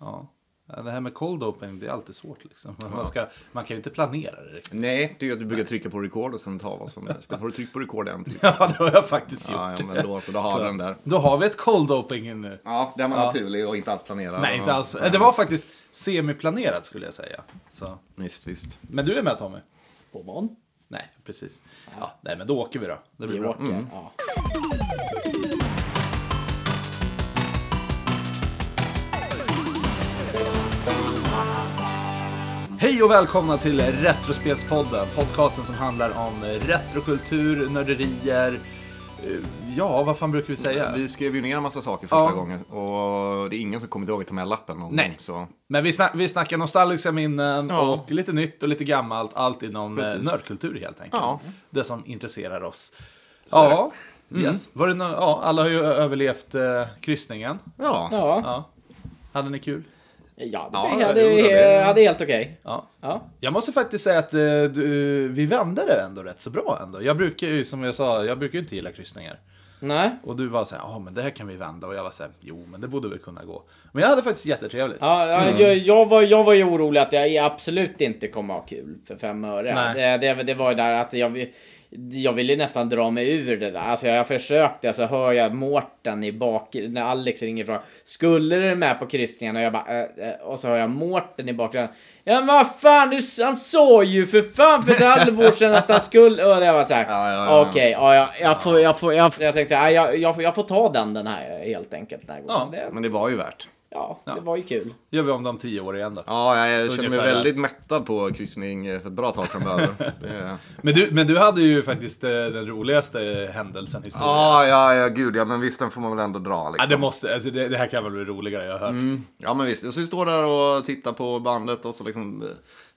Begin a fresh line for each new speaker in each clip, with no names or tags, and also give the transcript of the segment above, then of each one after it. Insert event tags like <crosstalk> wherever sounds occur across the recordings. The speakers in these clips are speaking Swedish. Ja. Ja, Det här med cold opening, det är alltid svårt liksom. Man, ska, man kan ju inte planera det riktigt. <laughs>
Nej, det är ju att du brukar trycka på record och sen ta vad som helst. Har du tryckt på record än? till exempel?
Ja, det har jag faktiskt gjort.
<laughs> Ja, ja, men då så, då har
Så,
du den där.
Då har vi ett cold opening nu.
Ja, där man naturlig och inte alls planerad.
Nej, inte
Ja.
alls. Det var faktiskt semiplanerat skulle jag säga. Så.
Visst, visst.
Men du är med Tommy?
På morgon.
Nej, precis. Ja, nej, men då åker vi då. Det blir
Vi
bra. Mm.
åker. Ja.
Hej och välkomna till Retrospelspodden. Podcasten som handlar om retrokultur, nörderier. eh, Ja, vad fan brukar vi säga?
Vi skrev ju ner en massa saker första
Ja.
gången och det är ingen som kommer ihåg att ta med lappen någon
Nej.
gång. Så.
Men vi, snack, vi snackar nostalgiska minnen
Ja.
och lite nytt och lite gammalt. Allt inom eh,
Precis.
nördkultur helt enkelt.
Ja.
Det som intresserar oss. Ja, yes.
Mm.
Var det nå- ja, alla har ju överlevt eh, kryssningen.
Ja.
Ja.
Ja. Hade ni kul?
ja, det,
Ja,
ja, det,
jo, det-
det hade helt okej.
Ja.
Ja.
Jag måste faktiskt säga att eh, du, vi vände det ändå rätt så bra ändå. Jag brukar ju, som jag sa, jag brukar ju inte gilla kryssningar.
Nej.
Och du var så här, ja men det här kan vi vända. Och jag var så här, jo men det borde väl kunna gå. Men jag hade faktiskt jättetrevligt.
Ja, ja, jag, jag, var, jag var ju orolig att jag absolut inte kommer ha kul för fem öre.
Nej.
Det, det, det var ju där att jag, vi- jag ville nästan dra mig ur det där. Alltså jag försökte, alltså hör jag Mårten i bakgrunden, när Alex ringer från Skulle du med på kryssningen? Och jag bara, eh, eh, och så hör jag Mårten i bakgrunden. Ja men vad fan, du, han sa ju för fan för ett halvår sedan att han skulle... Och jag var såhär,
Ja, ja, ja.
okej, ja, jag, jag, får, jag, får, jag, jag tänkte, ja, jag, jag, får, jag får ta den den här helt enkelt. Den här gången.
Ja.
Det,
Men det var ju värt.
ja, det var ju kul.
Gör vi om dem tio år igen då.
Ja, jag känner mig
Ungefär.
väldigt mättad på kryssning eh, för ett bra tag
<laughs>
framöver. Det är-
Men, du, men du hade ju faktiskt eh, den roligaste händelsen i historien.
Ja, ja, ja, gud ja, men visst den får man väl ändå dra
Ja,
liksom.
det, måste, alltså det, det här kan väl bli roligare, jag har hört.
Ja men visst, och så vi står där och tittar på bandet och så liksom...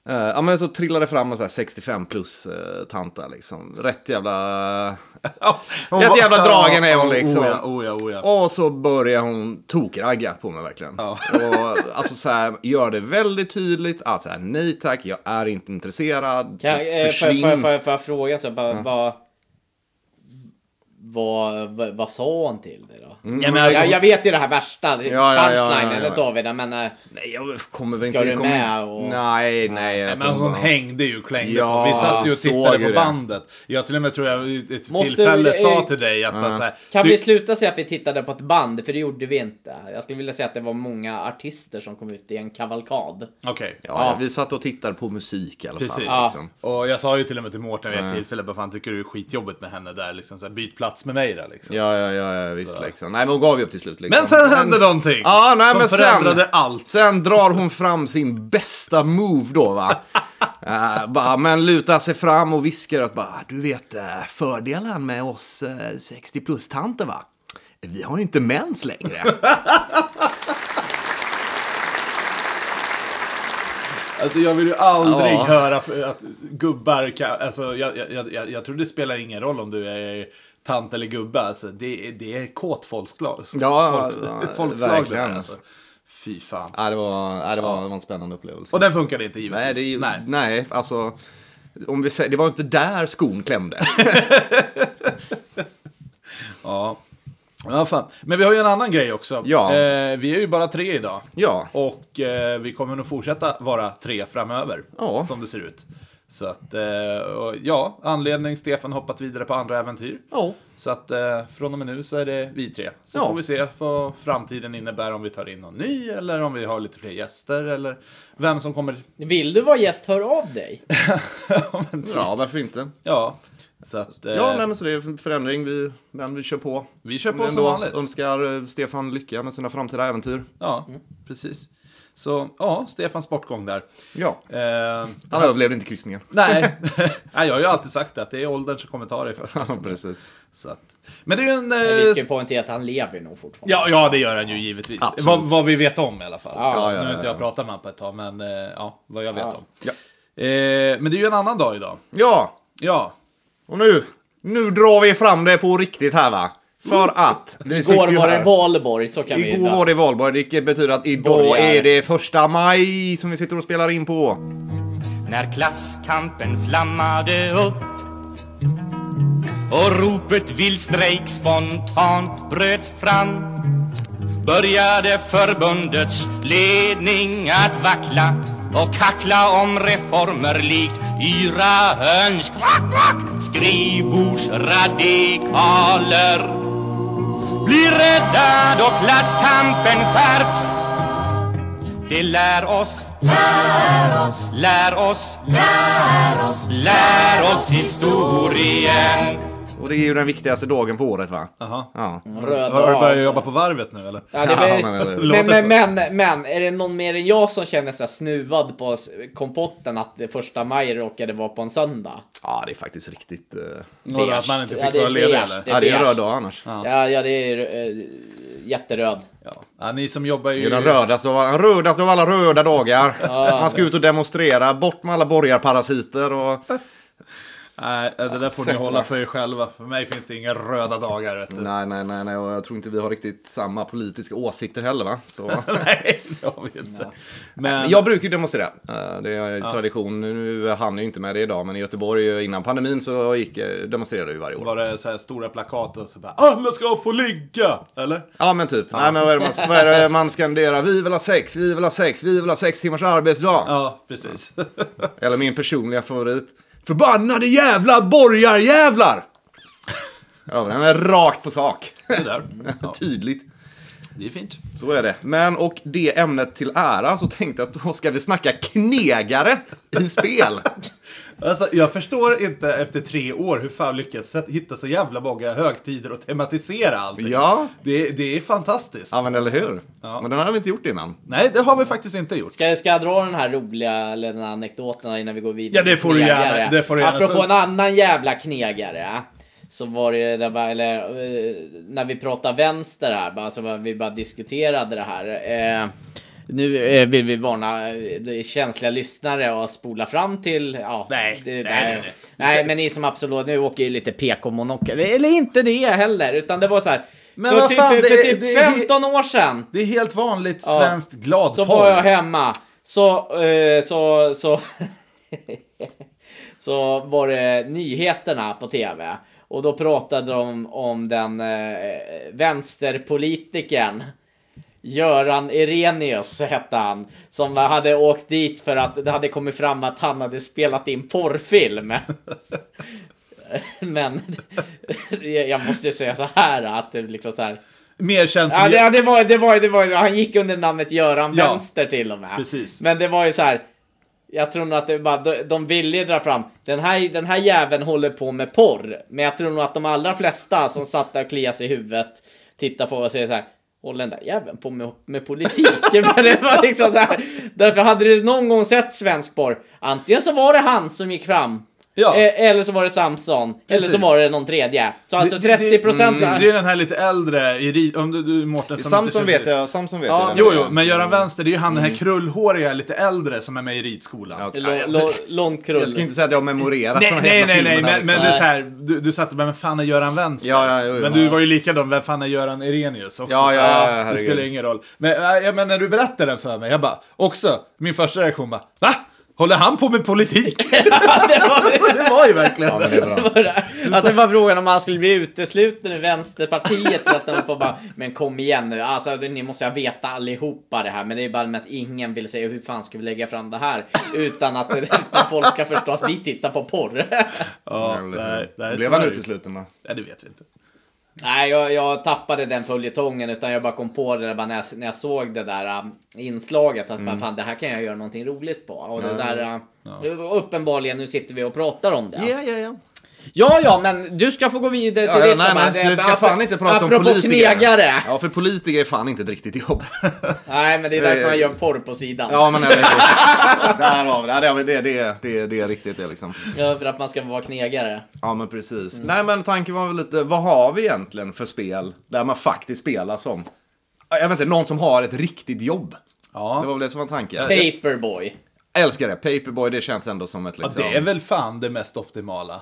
Eh, ja men så trillar det fram en sån här 65 plus eh, tanta liksom. Rätt jävla...
<laughs> Ja, hon
Rätt
var-
jävla dragen är hon
Ja,
liksom.
Oh ja, oh ja, oh ja.
Och så börjar hon tokragga på mig verkligen.
Ja.
Och alltså så här, gör det väldigt tydligt att så här, nej tack, jag är inte intresserad. så
Kan, eh, får, jag-
försvinn.
får, jag- får, jag- får jag fråga så bara, vad, vad, vad, vad sa hon till dig då?
Ja, men alltså,
Mm. Jag, jag vet ju det här värsta, det-
Mm. Ja, ja, ja, ja,
punchlinen
ja, ja.
tar vi den, men eh,
Nej, jag kommer väl
Ska
inte...
du
kommer...
med och-
Nej, nej.
Nej,
alltså,
men hon
bara-
hängde ju och klängde
Ja,
på. Vi satt ju och
såg
tittade
ju
på
det.
bandet. Jag till och med tror jag vid ett
Måste
tillfälle
vi-
sa till dig att man så här,
kan
du,
vi sluta säga att vi tittade på ett band? För det gjorde vi inte. Jag skulle vilja säga att det var många artister som kom ut i en kavalkad.
Okej.
Ja,
Ja.
vi satt och tittade på musik i alla
Precis.
fall. Liksom.
Och jag sa ju till och med till Mårten vid ett tillfälle, vad fan tycker du är skitjobbigt med henne där? Liksom, så här, byt plats med mig där liksom.
Ja, ja, ja, ja visst liksom. Nej, men hon gav ju upp till slut liksom.
Men sen hände någonting!
Ja, nej,
som
men sen-
förändrade allt.
Sen drar hon fram sin bästa move då
<laughs>
va. Eh, bara, men lutar sig fram och viskar att bara, du vet eh, fördelen med oss 60 plus tanter va? Vi har inte mens längre.
<laughs> Alltså jag vill ju aldrig
Ja.
höra för- att gubbar kan... Alltså jag, jag- jag, jag, jag tror det spelar ingen roll om du är tant eller gubbe. Alltså det, är- det är kåt folkslag.
Ja,
Folks-
ja,
ett folkslag det
verkligen.
där, alltså. Fy fan.
ja, det var, ja, det var, det var en spännande upplevelse.
Och den funkade inte givetvis.
nej, det är ju, nej.
Nej.
alltså. Om vi säger, det var inte där
<laughs>
skon klämde.
Ja. ja fan. Men vi har ju en annan grej också.
Ja.
Eh, vi är ju bara tre idag.
Ja.
Och eh, vi kommer nog fortsätta vara tre framöver.
Ja.
Som det ser ut. Så att, eh, och, ja, anledning Stefan hoppat vidare på andra äventyr.
Ja.
Så att eh, från och med nu så är det vi tre. Så
Ja.
får vi se vad framtiden innebär om vi tar in någon ny eller om vi har lite fler gäster eller vem som kommer. <laughs>
Vill du vara gäst, hör av dig.
Eh,
ja, men,
Ja, varför
Eh.
inte?
ja, så att eh,
Ja, nej, men så det är en förändring. Vi, men vi kör på.
vi kör på
Men
som
då
vanligt.
önskar eh, Stefan lycka med sina framtida äventyr.
Ja, precis. Så ja, Stefans bortgång där.
Ja.
Eh,
Han överlevde inte kryssningen.
nej. <laughs> nej, jag har ju alltid sagt det, att det är åldern som kommer ta dig först.
<laughs> Ja, precis.
Så att, men det är ju en...
Vi ska ju
Eh,
poängtera att han lever nog fortfarande.
ja, ja, det gör han ju givetvis.
Absolut.
Vad, vad vi vet om i alla fall.
Ja,
Så,
ja,
nu
ja,
har inte
ja.
jag pratat med honom på ett tag, men eh, ja, vad jag vet
Ja.
om.
Ja.
Eh, men det är ju en annan dag idag.
ja,
Ja,
och nu, nu drar vi fram det på riktigt här va. För att vi sitter
Igår
ju
var det
här.
Valborg, så kan vi
Igår var det valborg, vilket betyder att idag
Borgare.
är det första maj som vi sitter och spelar in på.
när klasskampen flammade upp och ropet vill strejk spontant bröt fram började förbundets ledning att vackla och kackla om reformer likt yra höns Kvack, kvack! skrivbordsradikaler blir rädda då klasskampen skärps det lär oss, lär oss, lär oss, lär oss historien
Och det är ju den viktigaste dagen på året va?
Jaha.
Ja.
Röd
Har du
dag.
börjat jobba på varvet nu eller?
Ja, det
Ja, men, eller hur?
var, men,
Låter
men, men, men, är det någon mer än jag som känner sig snuvad på s- kompotten att det första maj råkade vara på en söndag?
ja, det är faktiskt riktigt... eh,
Och att man inte
Ja,
fick
det är
vara ledig
beige.
eller?
Det
Ja, det är en
beige.
röd dag annars.
Ja.
Ja, ja, det är eh, jätteröd.
Ja. Ja, ni som jobbar
Det är
ju...
den rödaste av, alla- den rödaste av alla röda dagar. Man ska ut och demonstrera, bort med alla borgarparasiter och...
Nej, det där får ni
Sätt
hålla
va.
för er själva. För mig finns det inga röda dagar vet du.
Nej, nej, nej, nej, och jag tror inte vi har riktigt samma politiska åsikter heller va? Så...
<laughs> Nej, det har vi inte. Men...
<laughs> Men Jag brukar ju demonstrera. Eh, Det är tradition. Nu hann jag ju inte med det idag, men i Göteborg innan pandemin så gick, eh, demonstrerade jag ju varje år.
Var det så här stora plakat och så bara Alla ska få ligga! Eller?
Ja, men typ. Nej, men vad är det man, vad är det man skanderar? Vi vill ha sex, vi vill ha sex, vi vill ha sex timmars arbetsdag.
Ja, precis. <laughs>
Eller min personliga favorit. Förbannade jävla borgarjävlar! Ja, den är rakt på sak.
Sådär. Ja,
<laughs> Tydligt.
det är fint.
Så är det. Men och det ämnet till ära så tänkte jag att då ska vi snacka knegare
<laughs>
i spel.
Alltså, jag förstår inte efter tre år hur fan lyckas hitta så jävla många högtider och tematisera allting.
Ja.
Det, det är fantastiskt.
Ja, men eller hur?
Ja.
Men den hade vi inte gjort innan.
Nej, det har vi faktiskt inte gjort.
Ska, ska jag dra den här roliga eller den här anekdoten innan vi går vidare?
Ja, det får du gärna-
Knegare.
det får du gärna.
Apropå
Så-
en annan jävla knegare. Så var det ju, det var, eller eh, när vi pratade vänster här, bara, så var, vi bara diskuterade det här. Eh, nu eh, vill vi varna eh, det är känsliga lyssnare att spola fram till... Ja,
Nej,
det,
nej, nej,
nej,
nej.
nej, men ni som absolut, nu åker ju lite PK-monokel. Eller inte det heller, utan det var så här.
Men
för
vad
typ,
fan,
för
det är-
typ
det är-
15 år sedan.
Det är helt vanligt
Ja.
svenskt
Så
gladporr.
var jag hemma. Så, eh, så, så, <laughs> så var det nyheterna på tv. Och då pratade de om den eh, vänsterpolitikern. Göran Irenius hette han. Som hade åkt dit för att det hade kommit fram att han hade spelat in porrfilm. <laughs> Men <laughs> jag måste ju säga så här att det liksom så här.
<laughs> Mer känt
Ja,
som...
det, ja, det var det var det var han gick under namnet Göran
Alltså, Ja,
Vänster till och med.
precis.
Men det var ju så här. Jag tror nog att det bara, de, de ville ju dra fram, den här, den här jäveln håller på med porr. Men jag tror nog att de allra flesta som satt där och kliade sig i huvudet tittar på och säger så här. Håller den där jäveln på med, med politik? <laughs> Men det var liksom där. Därför hade du någon gång sett svensk porr, antingen så var det han som gick fram.
Ja.
eh, Eller så var det Samson. Eller
Precis.
så var det någon tredje. Så alltså 30%
det, Mm, det, det är den här lite äldre, Iri- om du, du Mårten som
Samson
inte
vet
känner-
jag, Samson vet
Ja.
jag.
Jo, jo, men Göran Vänster, det är ju han den här krullhåriga, lite äldre som är med i ridskolan.
Ja,
Lo-
alltså,
lo- Långt krull.
Jag ska inte säga att jag har memorerat
Nej,
de här
nej,
jävla
nej, nej,
filmerna,
men,
liksom.
men det är så här, du, du satt och bara, men fan är Göran Vänster?
Ja, ja, jo, jo,
men du
ja.
var ju likadan, vem fan är Göran Irenius? Också,
Ja,
så
ja,
här,
ja,
Det
herregud.
spelar ingen roll. Men, äh, ja, men när du berättade den för mig, jag bara, också, min första reaktion bara, va? Håller han på med politik? <laughs> alltså, det var ju verkligen
Ja, men det är bra.
Att det var frågan om han skulle bli utesluten ur Vänsterpartiet. att de får bara, men kom igen nu, alltså, ni måste jag veta allihopa det här. Men det är bara med att ingen vill säga hur fan ska vi lägga fram det här. Utan att utan folk ska förstå att vi tittar på porr.
<laughs>
<laughs>
Ja,
Jävligt.
nej, nej,
Blev
så
han
är det ju.
utesluten då?
Nej, det vet vi inte.
Nej, jag, jag tappade den följetongen utan jag bara kom på det där bara när, jag, när jag såg det där um, inslaget. Att bara, fan, det här kan jag göra någonting roligt på. Och det där, uh, uppenbarligen, nu sitter vi och pratar om det.
Ja, ja, ja.
Ja, ja, men du ska få gå vidare till
Ja, ja,
ditt,
nej,
Amanda.
men vi ska
Apro-
fan inte prata om
apropå
politiker.
knegare.
Ja, för politiker är fan inte ett riktigt jobb.
Nej, men det är därför man gör porr på sidan. Ja.
Ja, men eller hur? Där har vi det. Ja, det har vi. Det, det, det, det är riktigt det liksom.
för att man ska vara knegare.
Ja, men precis. Nej, men tanken var väl lite, vad har vi egentligen för spel där man faktiskt spelar som? Ja, Jag vet inte, någon som har ett riktigt jobb. Det
Ja.
var väl det som var tanken.
Paperboy.
Jag älskar det. Paperboy, det känns ändå som ett
ja,
liksom...
det är väl fan det mest optimala.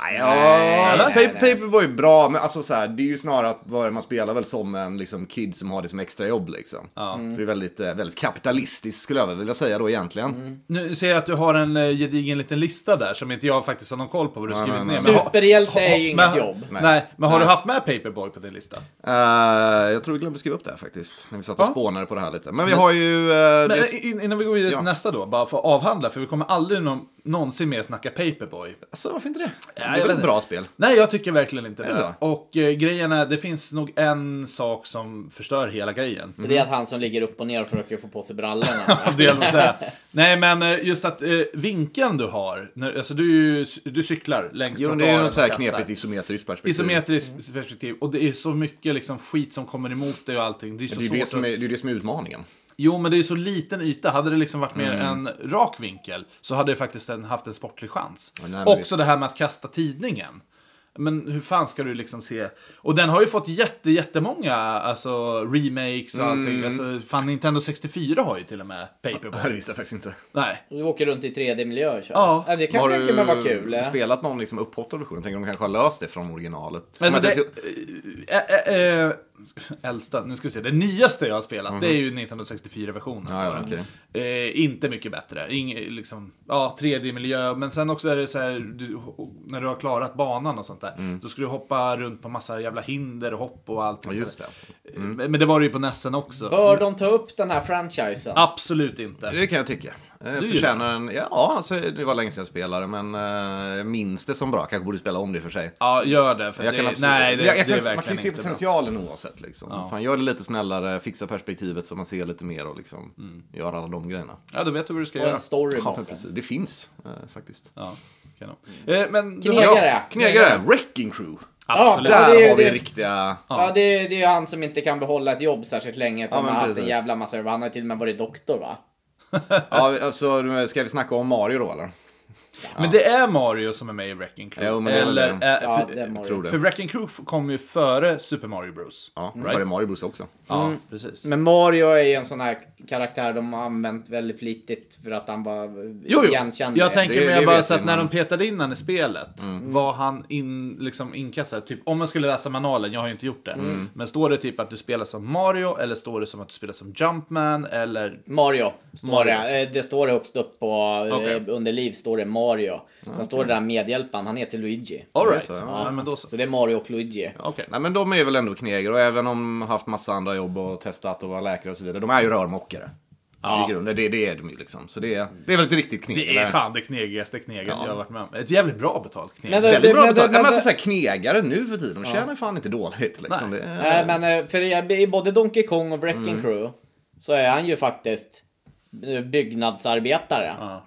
Nej,
Nej,
ja,
nej,
Pa-
nej.
Paperboy är bra, men alltså så här, det är ju snarare att vad man spelar väl som en liksom, kid som har det som extrajobb liksom.
Mm.
Så det är väldigt, eh, väldigt kapitalistiskt skulle jag väl vilja säga då egentligen.
Nu ser jag att du har en eh, gedigen liten lista där som inte jag faktiskt har någon koll på vad du skrivit
nej,
ner.
nej.
Men ha-
Superhjälte är ju
men-
inget jobb.
Mm.
Nej, men har du haft med Paperboy på din lista?
Eh, jag tror vi glömde skriva upp det här faktiskt, när vi satt och
Ja.
spånade på det här lite. Men vi har ju... eh,
Men,
det-
in, innan vi går vidare till
Ja.
nästa då, bara för att avhandla, för vi kommer aldrig någon, någonsin mer snacka Paperboy.
Alltså varför inte det? det
jag
är väl
vet
ett
inte.
bra spel.
Nej, jag tycker verkligen inte det.
det så?
Och eh, grejen är, det finns nog en sak som förstör hela grejen.
Mm.
Det är att han som ligger upp och ner och försöker få på
<laughs>
sig brallorna.
<laughs> Dels det. Nej, men eh, just att eh, vinkeln du har, när, alltså du, är ju- du cyklar längs
Jo, men det är ju
trottoaren
något så här
och kastar.
knepigt isometriskt perspektiv.
Isometriskt perspektiv, och det är så mycket liksom skit som kommer emot dig och allting. Det är så
Det är ju
svårt
det, som är,
att...
det är ju det som är utmaningen. <laughs>
Jo, men det är så liten yta. Hade det liksom varit mer
Mm.
en rak vinkel så hade det faktiskt en, haft en sportlig chans.
Ja, nej, men
Också det här med att kasta tidningen. Men hur fan ska du liksom se? Och den har ju fått jätte, jättemånga alltså, remakes och allting.
Mm.
Alltså, fan, Nintendo 64 har ju till och med
Det
Paperboy.
visste jag faktiskt inte.
nej.
Du åker runt i 3D-miljö och kör.
Ja.
det kan
har
jag tänka mig
du
vara kul. eh.
spelat någon liksom upphottad version? Tänker de kanske har löst det från originalet?
Alltså,
Men
det,
det-
äh, äh, äh, äldsta, nu ska vi se, det nyaste jag har spelat det är ju Nintendo 64-versionen.
Mhm. Ja, ja, okej.
Eh, inte mycket bättre. Ing, liksom, ja, 3D-miljö, men sen också är det så här, du, när du har klarat banan och sånt där, då ska du hoppa runt på massa jävla hinder och hopp och allt.
Mm.
Eh,
Ja, just det. Mm.
Men- Men det var det ju på Nessen också.
Bör de ta upp den här franchisen?
Absolut inte.
Det kan jag tycka. Eh,
Du
Förtjänar en... Ja, alltså, det var länge sedan jag spelade, men eh, jag minns det som bra. Kanske borde spela om det i och för sig.
Ja, gör det. För
Jag
det,
kan absolut...
nej, det,
jag, jag
det är
kan, man kan
verkligen
ju se
inte bra.
potentialen oavsett. Liksom. Fan, gör det lite snällare, fixa perspektivet så man ser lite mer och liksom,
Mm.
gör alla de grejerna.
Ja, då vet du vad du ska
Och
göra.
en story
Ja, men
bakom.
precis. Det finns eh, faktiskt.
Ja, kanon. Eh, men du
Knegare.
har...
Ja, knegare. Wrecking Crew.
Absolut.
Ja,
Där
det är-
har vi
det-
riktiga...
Ja, det, är- det är ju han som inte kan behålla ett jobb särskilt länge. utan
Ja, men
han har haft en
precis.
jävla massa jobb. Han har ju till och med varit doktor va?
Ja, alltså, ska vi snacka om Mario då eller?
Men det är Mario som är med i Wrecking Crew.
Jo, men det är väl
Eller,
det.
eh,
Ja,
för,
det är Mario.
tror det.
för Wrecking Crew kom ju före Super Mario Bros.
Ja, före Mario Bros också.
Ja,
Mm.
precis.
Men Mario är ju en sån här karaktär de har använt väldigt flitigt för att han var
Jo, jo.
igenkänd.
Jag tänker
Det-
mer
det
bara
vet
så
vi,
att när
men- Mm.
de petade in han i spelet var han in, liksom inkastad. Typ, om man skulle läsa manualen, jag har ju inte gjort det.
Mm.
Men står det typ att du spelar som Mario eller står det som att du spelar som Jumpman eller...
Mario, står
Mario.
Det. Eh, det står det högst upp på eh,
Okej.
under liv står det Mario. Sen står det där medhjälparen, han heter Luigi.
Alright.
så, ja.
ja. men då så.
Så det är Mario och Luigi.
Okej.
Nej men de är väl ändå knegare och även om de haft massa andra jobb och testat och var läkare och så vidare. De är ju rörmokare.
Ja.
I grunden, det, det är de ju liksom. Så det är, det är väl ett riktigt knegare.
Det är fan det knegigaste kneget
Ja.
jag har varit med om. Ett jävligt bra betalt kneg.
Men det-
Väldigt bra
Men-
betalt. Nej,
men-
Men
men-
alltså såhär knegare nu för tiden, de tjänar ju fan inte dåligt liksom.
Nej.
Det är...
Nej, men eh, för i- i både Donkey Kong och Wrecking
Mm.
Crew så är han ju faktiskt eh, byggnadsarbetare.
Ja.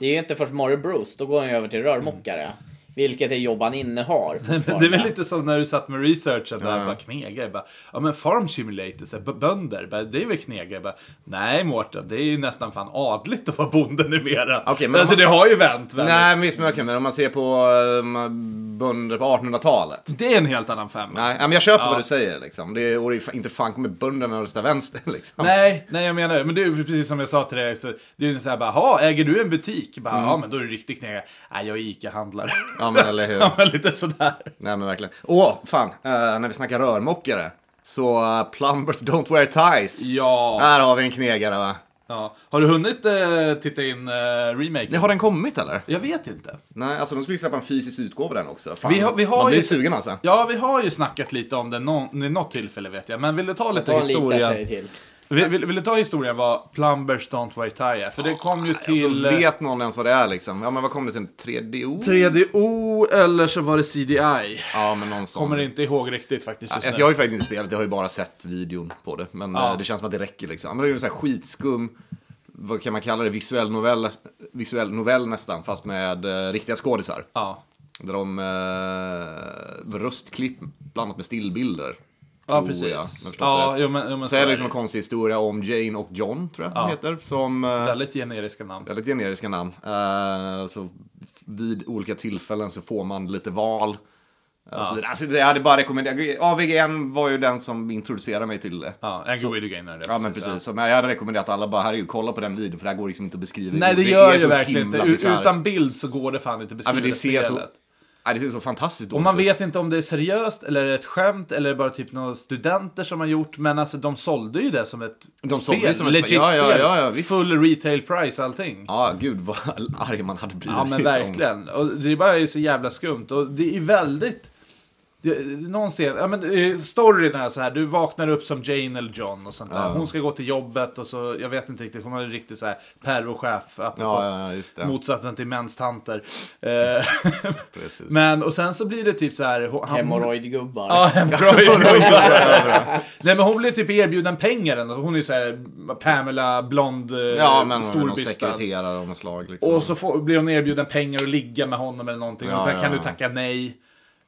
Det är ju inte först Mario Bros, då går han ju över till rörmokare. Vilket är jobb han innehar
Mm. <laughs> Det är väl
fortfarande.
lite som när du satt med researchen där, bara knegare. Bara, ja men farm simulator, så här, b- bönder, bara, det är väl knegare. Bara, Nej Mårten, det är ju nästan fan adligt att vara bonde numera.
Okej, men
alltså
om-
det har ju vänt väldigt.
Nej men visst men okej, men om man ser på eh, bönder på 1800-talet.
Det är en helt annan femma.
Nej, men jag köper
Ja.
vad du säger liksom. Det är, och det är fa- inte fan kommer bönderna rösta vänster <laughs> liksom.
Nej, nej jag menar men det är ju precis som jag sa till dig. Så det är ju så här bara, "Ha, äger du en butik? Bara, Ja, men då är du riktigt knegare. Nej, jag är ICA-handlare.
Mm. Ja men eller
<laughs>
hur.
Ja, men lite sådär.
Nej men verkligen. Åh, fan. eh, när vi snackar rörmokare. Så eh, plumbers don't wear ties.
Ja.
Här har vi en knegare va?
ja. Har du hunnit eh, titta in eh, remaken?
Nej, har den kommit eller?
Jag vet inte.
Nej, alltså de skulle släppa en fysisk utgåva den också. Fan,
Vi har- vi har
man blir
ju-
sugen alltså.
Ja, vi har ju snackat lite om det någon, vid något tillfälle vet jag. Men vill du ta lite
Ta en liten
historien?
grej till.
Vill, vill, vill du ta historien vad Plumbers Don't Wear Tie är? För det kom ju till... eh,
Alltså, vet någon ens vad det är liksom? Ja men vad kom det till? 3DO?
3DO eller så var det CDI.
Ja men någon sån.
Kommer inte ihåg riktigt faktiskt just
Alltså,
nu.
jag har ju faktiskt inte spelat, jag har ju bara sett videon på det. Men
Ja.
eh, det känns som att det räcker liksom. Men det är ju en sån här skitskum, vad kan man kalla det, visuell novell, visuell novell nästan. Fast med eh, riktiga skådisar.
Ja.
Där de eh, röstklipp blandat med stillbilder.
Ja,
tror jag, om
precis.
jag förstått
ja,
det.
jo, men, jo, men
så är det liksom en konstig historia om Jane och John, tror jag de heter. Som, eh,
Väldigt generiska namn.
väldigt generiska namn. Eh, så vid olika tillfällen så får man lite val. Ja. Så, vidare. alltså, jag hade bara rekommenderat, AVGN var ju den som introducerade mig till det.
Ja, Angry Video Game är det.
Ja men precis, så, men jag hade rekommenderat alla bara, herregud kolla på den videon för det här går liksom inte att beskriva.
Nej, det
är
gör
så
ju verkligen inte.
himla
U-
bisarrt.
Utan bild så går det fan inte att
Ja,
beskriva
men det ser så...
spelet.
Nej, Ja, det ser så fantastiskt
Och
dåligt
man
ut.
vet inte om det är seriöst eller är det ett skämt eller bara typ några studenter som har gjort. Men alltså de sålde ju det som ett
De sålde
spel.
det som ett
legit
spel. Ja, ja,
spel.
ja, ja, visst.
Full retail price allting. Ja.
Ja, gud vad <laughs> arg man hade blivit.
men
om-
verkligen. Och det är bara ju så jävla skumt. Och det är väldigt... Det, någon scen, ja men eh, storyn är så här, du vaknar upp som Jane eller John och sånt där. Hon ska gå till jobbet och så, jag vet inte riktigt, hon har en riktig så här pervochef, apropå
Ja, ja, ja, just det.
motsatsen till menstanter. Eh, <laughs>
Precis.
men, och sen så blir det typ så här... hon- han-
Hemorrojdgubbar.
<laughs>
Ja, hemorrojdgubbar. Nej men hon blir typ erbjuden pengar ändå. Hon är ju såhär Pamela, blond, eh,
ja, men hon är någon
storbystad.
sekreterare av något slag. Liksom.
Och så får, blir hon erbjuden pengar och ligga med honom eller någonting.
Ja,
och
ja,
kan du
ja.
tacka nej?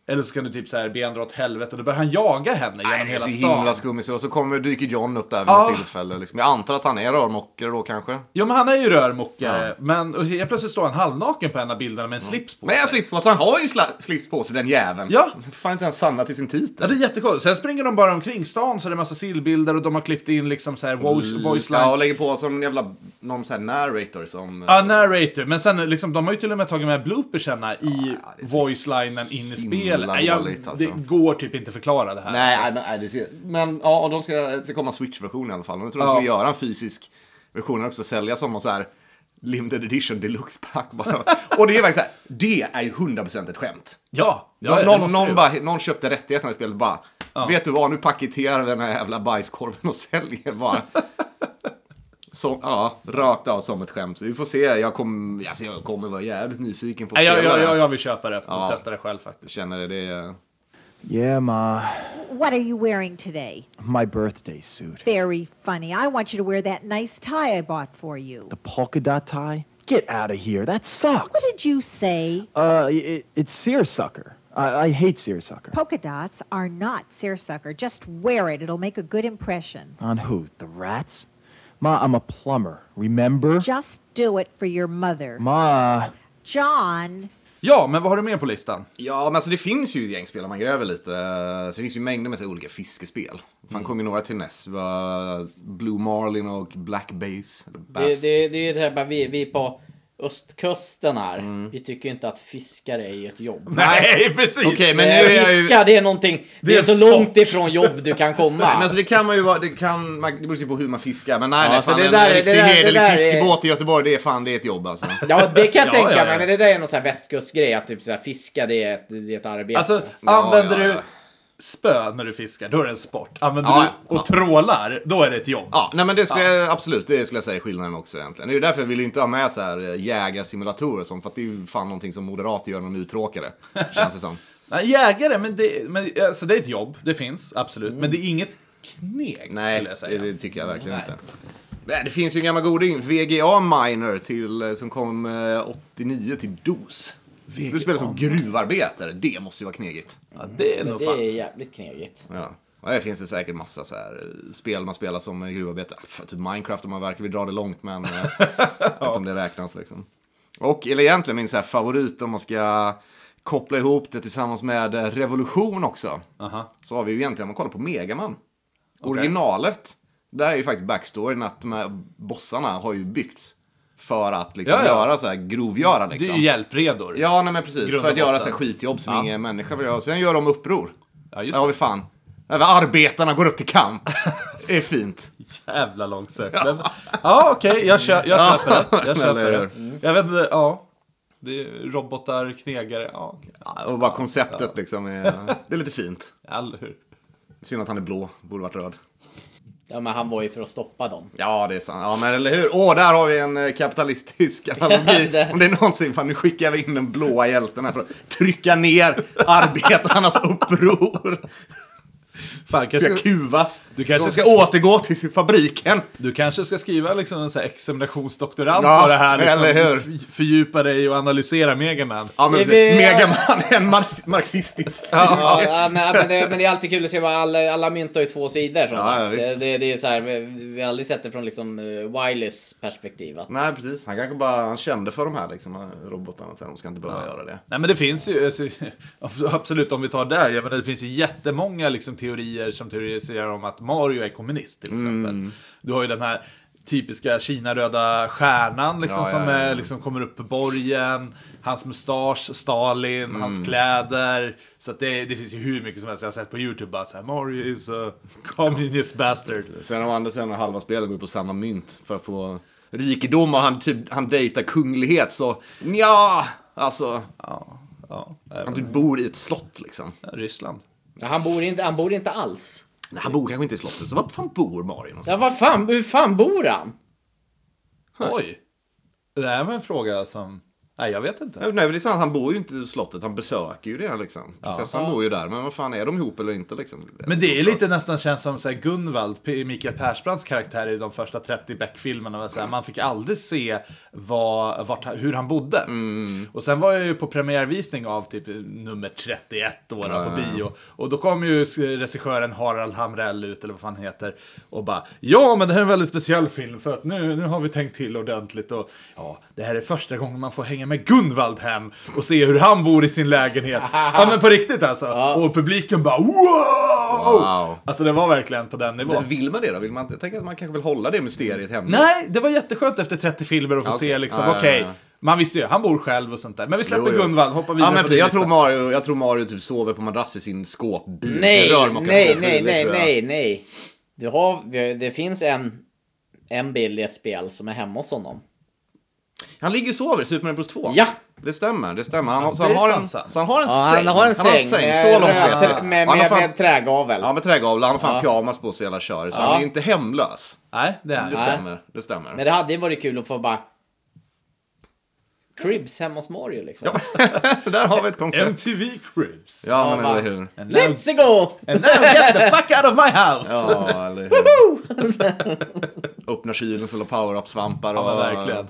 Eller så kan du typ såhär be henne dra åt helvete. Och då börjar han jaga henne
Nej,
genom
det är
hela
så
stan.
himla skummiskt. Och så kommer, dyker John upp där vid
Ja.
något tillfälle. Liksom. Jag antar att han är rörmokare då kanske.
Jo men han är ju rörmokare. Men och helt plötsligt står han halvnaken på en av bilderna med en slips på.
Men en slips på sig. Han har ju sla- slips på sig, den jäveln.
Ja.
Fan inte ens sanna till sin titel.
Ja, det är jättekonstigt. Sen springer de bara omkring stan så det är massa sillbilder och de har klippt in liksom såhär voice, voice line
Ja, och lägger på som jävla, någon sån här narrator som...
Ja, narrator. Men sen liksom, de har ju till och med tagit med bloopersarna i
det är så
voice-linen in i
himla
spelet. Nej, jag,
dåligt, alltså.
Det går typ inte förklara det här.
Nej, nej, men, nej, det ser... men ja, och de ska, det ska komma en Switch-version i alla fall. Och jag tror de
Ja.
ska göra en fysisk version också, sälja som någon så här limited edition deluxe
<laughs>
pack bara. och det är faktiskt så här, det är ju 100% ett skämt.
Ja, ja det
någon,
måste
någon,
ju.
bara, någon köpte rättigheterna i spelet bara, vet du vad, nu paketerar vi den här jävla bajskorven och <laughs> säljer bara. Som, ja, rakt av som ett skämt. Så vi får se, jag, kom, alltså, jag kommer vara jävligt nyfiken på
Nej, jag, jag,
spelaren.
jag, jag vill köpa det.
Ja.
och Testa det själv faktiskt.
Känner det, det är...
Yeah, Ma.
What are you wearing today?
My birthday suit.
Very funny. I want you to wear that nice tie I bought for you.
The polka dot tie? Get out of here. That sucks.
What did you say?
Uh, it, it's seersucker. I, I hate seersucker.
Polka dots are not seersucker. Just wear it. It'll make a good impression.
On who? The rats? Ma, I'm a plumber. Remember?
Just do it for your mother.
Ma.
John,
Ja, men vad har du mer på listan?
Ja, men alltså det finns ju ett gäng spel om man gräver lite. Så det finns ju mängder med så här olika fiskespel.
Mm.
Fan kom ju några till NES. Det var Blue Marlin och Black Bass. eller Bass.
Det, det, det är ju det här, bara vi, vi är på östkusten här.
Mm.
Vi tycker ju inte att fiskare är ett jobb.
Nej, <laughs> precis!
Okej, men nu
Eh,
är jag ju...
Fiska, det är någonting. Det
är
är så
sport.
långt ifrån jobb du kan komma.
Nej, men alltså det kan man ju vara, det kan, man, det beror ju på hur man fiskar. Men nej,
Ja,
nej
alltså
fan
det
en
där- det
riktig
där- det
hederlig
där är-
fiskebåt i Göteborg, det är fan det är ett jobb alltså.
Ja, det kan jag
Ja,
tänka
ja,
mig.
ja.
Men det där är någon sån här västkustgrej. Att typ så här, fiska, det är ett, det är ett arbete.
Alltså,
Ja,
använder
ja,
du
ja.
spö när du fiskar, då är det en sport. Använder
Ja,
du och
ja.
trålar, då är det ett jobb.
Ja, nej men det skulle jag, absolut, det skulle jag säga är skillnaden också egentligen. Det är ju därför jag vill inte ha med så här eh, jägarsimulatorer och sånt, för att det är ju fan någonting som moderater gör när de är
<laughs>
uttråkade. Känns det som.
Nej, jägare, men det, men, alltså, det är ett jobb. Det finns, absolut. Men det är inget kneg,
Mm. Nej,
skulle jag
det,
säga.
det tycker jag verkligen inte. Nej, det finns ju en gammal goding, VGA Miner, till, eh, som kom eh, 89 till DOS. Du spelar som gruvarbetare, det måste ju vara knegigt.
Ja, det är nog
det
fan...
är jävligt knegigt.
Ja. Och här finns det säkert massa så här eh, spel man spelar som eh, gruvarbetare. Ah, för Typ Minecraft om man verkar vill dra det långt,
<laughs>
men eh, jag vet inte om det räknas liksom. Och, eller egentligen min så här favorit om man ska koppla ihop det tillsammans med eh, Revolution också.
Aha.
Så har vi ju egentligen, om man kollar på Megaman. Originalet, där är ju faktiskt backstoryn att de här bossarna har ju byggts för att liksom
Ja, ja.
göra så här grovgöra
Det är
liksom.
ju hjälpredor.
Ja, nej men precis.
Grund
För
och
att göra
botten.
så här skitjobb som ingen människa vill göra. Sen gör de uppror.
Ja, just
Ja,
det.
vi fan. Även arbetarna går upp till kamp. Det är fint.
Jävla långsökt. Men, ja, okej. jag, kö- jag
Ja,
köper det. Jag
<laughs> eller
köper
hur?
det. Jag vet inte, ja. Det är robotar, knegare, ja. okej.
Ja, Och bara konceptet liksom. Är, det är lite fint.
Eller hur?
Synd att han är blå. Borde varit röd.
Ja, men han var ju för att stoppa dem.
Ja, det är sant. Ja, men eller hur? Åh, där har vi en eh, kapitalistisk analogi.
där.
Om det är någonsin, fan nu skickar vi in den blåa hjälten här för att trycka ner arbetarnas uppror.
Fan,
Ska
kanske,
kuvas.
Du kanske
De ska
ska-
återgå till sin fabriken.
du kanske ska skriva liksom en sån här examinationsdoktorand
Ja,
på det här. Liksom,
eller hur?
f- Fördjupa dig och analysera Megaman.
Ja, men
Vi-
precis.
vi-
Megaman är en marx- marxistisk
Ja,
studie.
ja, men, men, det, men det är alltid kul att se vad alla, alla mynt har ju två sidor. Som
Ja, ja,
sagt.
visst.
det, det är så här, vi, vi har aldrig sett det från liksom uh, Wileys perspektiv. Att,
Nej, precis. Han kanske bara han kände för de här liksom, robotarna. Så här, de ska inte behöva göra det.
Nej men det finns ju, alltså, <laughs> absolut om vi tar där, jag menar, det finns ju
Mm.
jättemånga liksom, teorier som teoriserar om att Mario är kommunist till exempel. Du har ju den här typiska Kina-röda stjärnan liksom,
Ja, ja,
som
ja, ja.
Är, liksom, kommer upp på borgen. Hans mustasch, Stalin,
Mm.
hans kläder. Så att det, det finns ju hur mycket som helst jag har sett på YouTube. Bara så här, Mario is a communist bastard.
Sen har andra sidan halva spelet går på samma mynt för att få rikedom och han, typ, han dejtar kunglighet så ja, alltså.
Ja,
Han typ bor i ett slott liksom.
Ryssland.
Han bor inte, han bor inte alls.
Nej, han bor kanske inte i slottet, så var fan bor Mario någonstans?
Ja, vad fan, hur fan bor han?
Oj! Det här var en fråga som... Nej, jag vet inte.
Nej, men det är sant, han bor ju inte i slottet, han besöker ju det liksom. Prinsessan bor ju där, men vad fan är de ihop eller inte liksom?
Men det är lite nästan känns som så här Gunvald, P- Mikael Persbrandts karaktär i de första 30 Beck-filmerna. var så här, Man fick aldrig se vad, vart, hur han bodde. Och sen var jag ju på premiärvisning av typ nummer 31 då, där på bio. Och då kom ju regissören Harald Hamrell ut, eller vad fan han heter, och bara Ja, men det här är en väldigt speciell film för att nu, nu har vi tänkt till ordentligt och ja, det här är första gången man får hänga med Gunvald hem och se hur han bor i sin lägenhet. ja, men på riktigt alltså. Och publiken bara wow!
Wow.
Alltså det var verkligen på den nivån.
Vill man det då? Vill man, jag tänker att man kanske vill hålla det mysteriet hemligt.
Nej, det var jätteskönt efter 30 filmer att få
Ja, okej.
se liksom,
Ja, ja, ja,
okej.
ja.
Man visste ju, han bor själv och sånt där. Men vi släpper
Jo, jo.
Gunvald, hoppar vidare
Ja, men
på
precis. jag, tror
listan.
Mario, jag tror Mario typ sover på madrass i sin skåpbil.
Nej,
Rörmokarskåpbil,
nej,
det
nej,
tror
nej,
jag.
nej, nej. Du har, vi har- det finns en, en bild i ett spel som är hemma hos honom.
Han ligger och sover i Super Mario Bros 2.
Ja.
Det stämmer, det stämmer. Han, har- så,
det
han har
är
en,
fan sant.
så han har en
alltså. Ja,
säng.
han har en säng.
så
med-
långt
med-
vet jag. Han
Med,
har
med,
fan-
med trägavel.
Ja, med trägavel. Han har fan pyjamas på sig hela kör. Så
Ja.
han är ju inte hemlös.
Nej, det är
Det
han.
stämmer, det stämmer.
Men det hade ju varit kul att få bara... Cribs hemma hos Mario liksom.
Där har vi ett koncept.
MTV Cribs.
Ja, men
Ja,
eller hur.
And now,
Let's go!
and now get the fuck out of my house!
Ja, eller hur. Öppnar kylen full av power-up-svampar och...
Ja, men verkligen.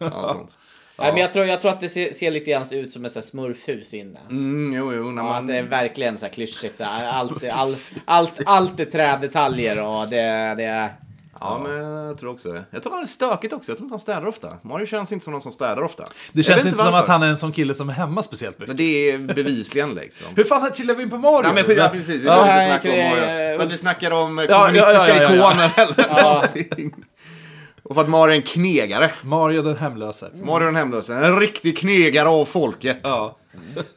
Allt sånt.
Nej, men jag, tror, jag tror att det ser, ser lite grann ut som ett så här smurfhus inne.
Mm, jo, jo, när
Ja, att
man...
det är verkligen så här
<laughs>
klyschigt. där. Allt, allt, allt, allt är trädetaljer och det, det är...
Ja, men jag tror också det. Jag tror han är stökigt också. Jag tror inte han städar ofta. Mario känns inte som någon som städar ofta.
Det känns inte som att han är en sån kille som är hemma speciellt mycket.
Men det är bevisligen liksom.
Hur fan här killar vi in på Mario?
Nej, men
nu?
skit- ja, precis. Det
Ja,
var
här
lite
är
snack om
kring-
Mario. För att vi snackar om eh,
ja,
kommunistiska
ja, ja, ja.
ikoner eller
Ja.
någonting. Och för att Mario är en knegare.
Mario den hemlöse.
Mario den hemlöse. En riktig knegare av folket.
Ja.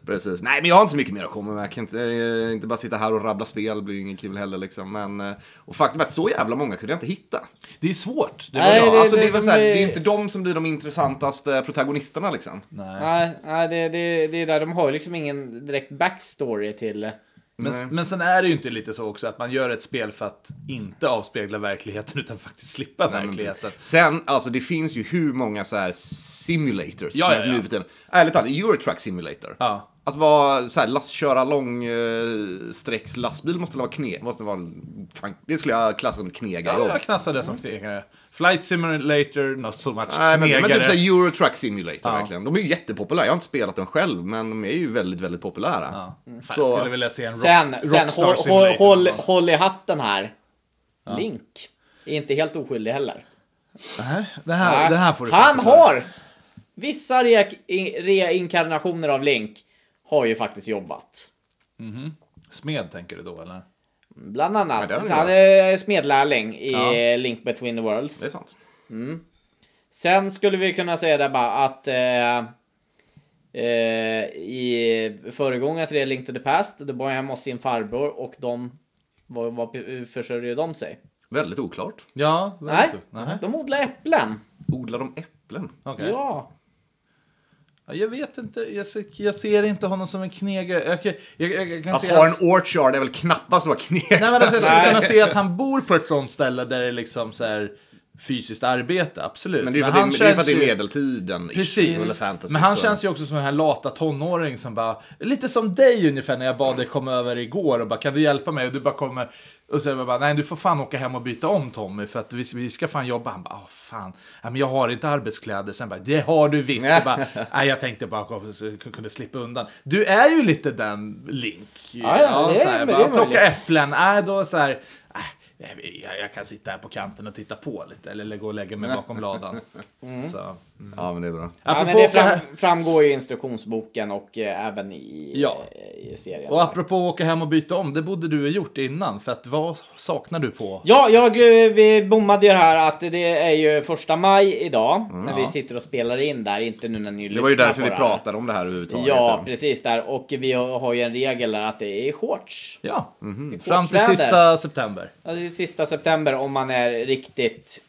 Precis. Nej, men jag har inte så mycket mer att komma med. Jag kan inte, eh, inte bara sitta här och rabbla spel. Det blir ju ingen kul heller liksom. Men, eh, och faktum är att så jävla många kunde jag inte hitta.
Det är svårt. Det
Nej,
var
Ja,
jag.
det-
alltså, det, är
det-
väl så här,
de-
det är inte de som blir de intressantaste protagonisterna liksom.
Nej, nej det, det, det är där. De har ju liksom ingen direkt backstory till...
Men, men sen är det ju inte lite så också att man gör ett spel för att inte avspegla verkligheten <laughs> utan faktiskt slippa verkligheten.
Sen, alltså det finns ju hur många så här simulators
Ja, ja,
som är
ja.
nu för tiden. Ärligt talat, Eurotruck simulator.
Ja.
Att vara så här, last, köra lång eh, sträcks lastbil måste vara kne, måste vara, fan, det skulle jag klassa som knega.
Ja, jag knassade som knegare. Flight simulator, not so much
Mm. Nej, men, men typ
knegare.
så här Eurotruck simulator verkligen. De är ju jättepopulära, jag har inte spelat dem själv, men de är ju väldigt, väldigt populära. Mm.
Ja. Fan,
Så-
jag skulle vilja se en rock,
Sen, sen
Rockstar
håll, håll,
simulator.
håll, håll i hatten här. Link är inte helt oskyldig heller.
det, här, det här får du
Han
faktiskt förklara.
har! Vissa re- i- reinkarnationer av Link har ju faktiskt jobbat.
Smed tänker du då eller?
Bland
Ja, det har
annat. Så
han
han är smedlärling i
Ja.
Link Between the Worlds.
Det är sant.
Sen skulle vi kunna säga det bara att eh, eh, i föregångaren till det, Link to the Past, då var jag hemma hos sin farbror och de vad, vad försörjer de sig?
Väldigt oklart.
Ja,
Nej,
Nej.
de odlar äpplen.
Odlar de äpplen?
Okej.
Ja.
Ja, Jag vet inte, jag ser, jag ser inte honom som en knegare. Jag, kan- jag, jag, Alltså, jag kan
Att
se
ha
hans-
en orchard är väl knappast vad knega.
Nej, men alltså, jag skulle kunna se att han bor på ett sånt ställe där det är liksom så här fysiskt arbete, absolut.
Men det är ju för, att det, det, är för att det är
känns ju-
medeltiden. ish, liksom, eller
Precis.
fantasy,
Men han
så.
känns ju också som den här lata tonåring som bara, lite som dig ungefär när jag bad dig komma över igår och bara kan du hjälpa mig? Och du bara kommer och säger bara nej du får fan åka hem och byta om Tommy för att vi, vi ska fan jobba. Han bara, "Ah, fan, nej, men jag har inte arbetskläder. Sen bara, det har du visst. Jag
<laughs>
bara, nej jag tänkte bara kom, så jag kunde slippa undan. Du är ju lite den Link.
ja, det är-
så här,
men det är
bara, plocka
möjligt.
äpplen, nej då så här. "Äh,
<laughs> Mm.
Jag, jag kan sitta här på kanten och titta på lite eller gå och lägga mig bakom ladan. Så.
Ja, men det är bra.
Ja, men
Apropå
det
åka
fram,
hem-
framgår ju i instruktionsboken och eh, även i, eh,
Ja.
i serien.
Och apropå att åka hem och byta om, det borde du ha gjort innan. För att vad saknar du på?
Ja, jag, eh, vi bommade ju det här att det är ju första maj idag
Mm,
när vi sitter och spelar in där, inte nu när ni lyssnar
Det var ju därför
på
vi
här.
pratade om det här överhuvudtaget. <laughs>
Ja, precis där. Och vi har har ju en regel där att det är shorts.
Ja,
Mhm.
Det är
fram till
shortsväder.
sista september.
Alltså, det är sista september om man är riktigt,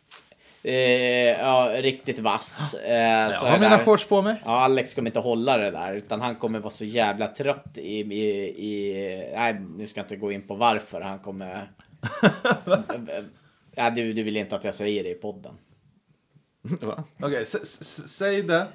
eh, ja, riktigt vass. Eh,
Jag
så
har
är
mina
där-
shorts på mig.
Ja, Alex kommer inte hålla det där, utan han kommer vara så jävla trött i... i, i nej, nu ska jag inte gå in på varför. Han kommer... ja, du, du vill inte att jag säger det i podden.
Va?
Okej, s- s- s- säg det.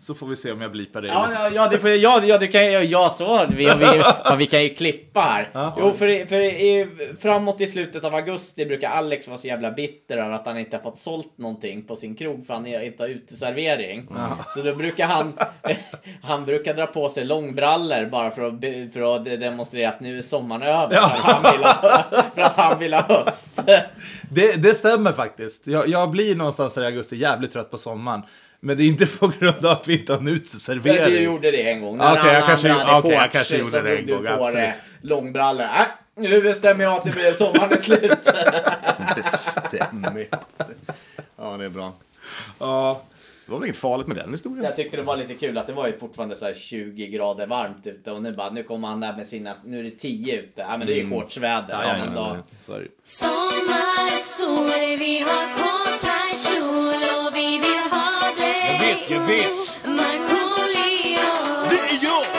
Så får vi se om jag blipar det.
Ja, ja, ja, det får, ja, ja, det kan jag... Ja, så. Vi, vi, ja, vi kan ju klippa här. Jo, för, i- för i, framåt i slutet av augusti brukar Alex vara så jävla bitter över att han inte har fått sålt någonting på sin krog för han är- inte har uteservering. Så då brukar han... <laughs> Han brukar dra på sig långbrallor bara för att, be- för att demonstrera att nu är sommaren över. För, att han vill ha, för att han vill ha höst.
Det, det stämmer faktiskt. Jag, jag blir någonstans där i augusti jävligt trött på sommaren. Men det är inte <laughs> på grund av att vi inte har en uteservering.
Du gjorde det en gång.
Okej,
När
jag
alla
kanske
andra
gjorde-
hade
okej, jag
shorts
kanske gjorde
så
det
drog
en
du
gång,
på
absolut.
dig Långbrallor. Äh, nu bestämmer jag att det blir sommaren
<laughs>
är slut.
Bestämmigt. Ja, det är bra.
Ja.
Det var väl inget farligt med den historien?
jag tyckte det var lite kul att det var ju fortfarande så här 20 grader varmt ute och nu bara nu kommer han där med sina, nu är det 10 ute. Ja men det är
Mm.
ju shortsväder. Ja, men då-
Sorry.
Sommar, sol, vi har korta kjol och vi vill ha dig Jag vet, jag vet Markoolio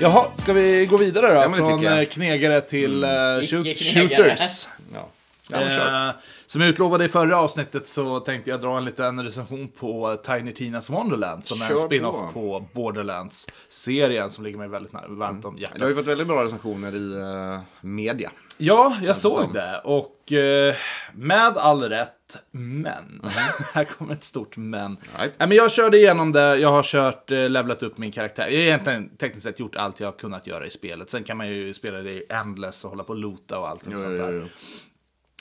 Jaha, ska vi gå vidare då?
men det
Från
tycker jag.
eh, knegare till mm. shoot,
Icke-knegare.
shooters.
Ja. Ja, men kör.
Eh, som jag utlovade i förra avsnittet så tänkte jag dra en liten recension på Tiny Tinas Wonderland som är
Kör
en
på.
spin-off på Borderlands-serien som ligger mig väldigt nära, varmt om hjärtat.
Du har ju fått väldigt bra recensioner i eh, media.
Ja, jag såg
som.
det. Och eh, med all rätt, men. <laughs> här kommer ett stort men.
Mm-hmm. Right.
Nej, men jag körde igenom det, jag har kört, eh, levlat upp min karaktär. Jag har egentligen tekniskt sett gjort allt jag har kunnat göra i spelet. Sen kan man ju spela det i Endless och hålla på och loota och allt och sånt där.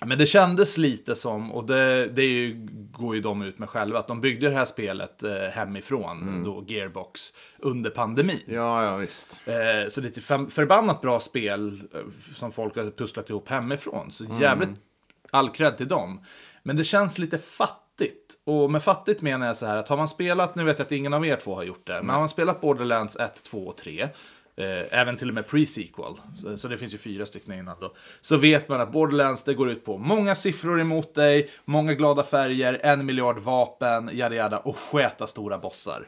Men det kändes lite som, och det, det är ju, går ju de ut med själva, att de byggde det här spelet eh, hemifrån, då Gearbox, under pandemin.
Ja, ja, visst.
Eh, så det är ett fem- förbannat bra spel eh, f- som folk har pusslat ihop hemifrån. Så jävligt all cred till dem. Men det känns lite fattigt. Och med fattigt menar jag så här att har man spelat, nu vet jag att ingen av er två har gjort det, men har man spelat Borderlands 1, 2 och 3, eh, även till och med pre-sequel, så, så det finns ju fyra stycken innan då, så vet man att Borderlands det går ut på många siffror emot dig, många glada färger, en miljard vapen, yada yada, och sköta stora bossar.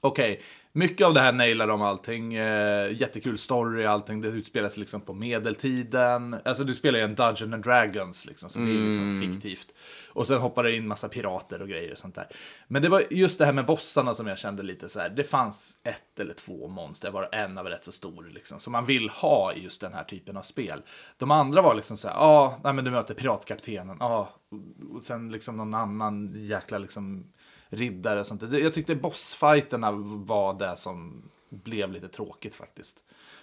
Okej, mycket av det här nailar de allting. Eh, jättekul story och allting. Det utspelas liksom på medeltiden. Alltså du spelar ju en Dungeon and Dragons liksom, så det är ju liksom fiktivt. Och sen hoppar det in massa pirater och grejer och sånt där. Men det var just det här med bossarna som jag kände lite så här. Det fanns ett eller två monster, var en av rätt så stor liksom, som man vill ha i just den här typen av spel. De andra var liksom så här, ja, ah, men du möter piratkaptenen, ja, ah, och- och sen liksom någon annan jäkla liksom riddare och sånt. Det- Jag tyckte bossfighterna var det som blev lite tråkigt faktiskt.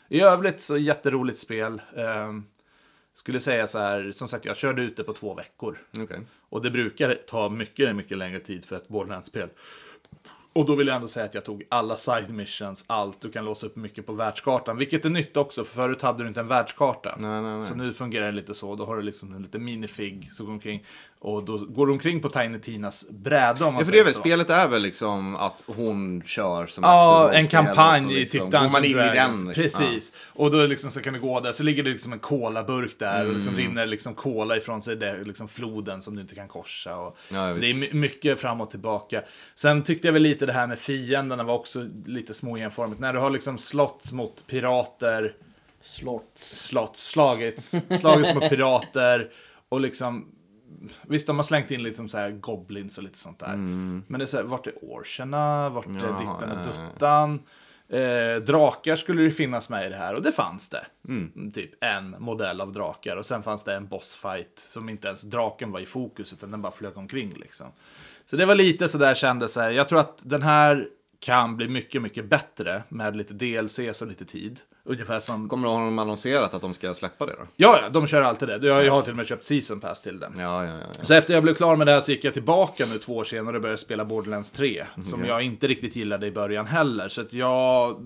I övrigt så jätteroligt spel. Ehm, skulle säga så här, som sagt jag körde ut det på två veckor.
Okej.
Och det brukar ta mycket, mycket längre tid för ett Borderlands-spel. Och då vill jag ändå säga att jag tog alla side missions, allt. Du kan låsa upp mycket på världskartan, vilket är nytt också, för förut hade du inte en världskarta. Så nu fungerar det lite så, då har du liksom en liten minifig som går omkring. Och då går du omkring på Tiny Tinas bräda om man
Ja, för det är
säger
väl,
så.
spelet är väl liksom att hon kör som
Ja,
ett
en
rollspel och
kampanj
så
i
liksom
typ
går man
Dungeons
in i
Dragons.
den. liksom.
Precis. Och då liksom så kan du gå där, så ligger det liksom en kolaburk där och liksom
Mm.
rinner liksom kola ifrån sig, det är liksom floden som du inte kan korsa. Och,
Ja,
så det är
visst.
my- mycket fram och tillbaka. Sen tyckte jag väl lite det här med fienderna var också lite småenformigt. När du har liksom slått mot pirater,
Slotts.
slått, slagits, slagits mot pirater och liksom Visst, de har slängt in lite så här goblins och lite sånt där. Men det är så här, vart är orcherna? Vart är ditten och duttan? Eh, drakar skulle det finnas med i det här och det fanns det. Typ en modell av drakar och sen fanns det en bossfight som inte ens draken var i fokus utan den bara flög omkring liksom. Så det var lite så där kändes så här, jag tror att den här kan bli mycket, mycket bättre med lite DLCs och lite tid. Ungefär som...
Kommer de- har de annonserat att de ska släppa det då?
Ja, ja, de kör alltid det. Jag, jag har till och med köpt Season Pass till den.
Ja, ja, ja. ja.
Så efter jag blev klar med det här så gick jag tillbaka nu två år senare och började spela Borderlands 3.
Mhm,
Som jag inte riktigt gillade i början heller. Så att jag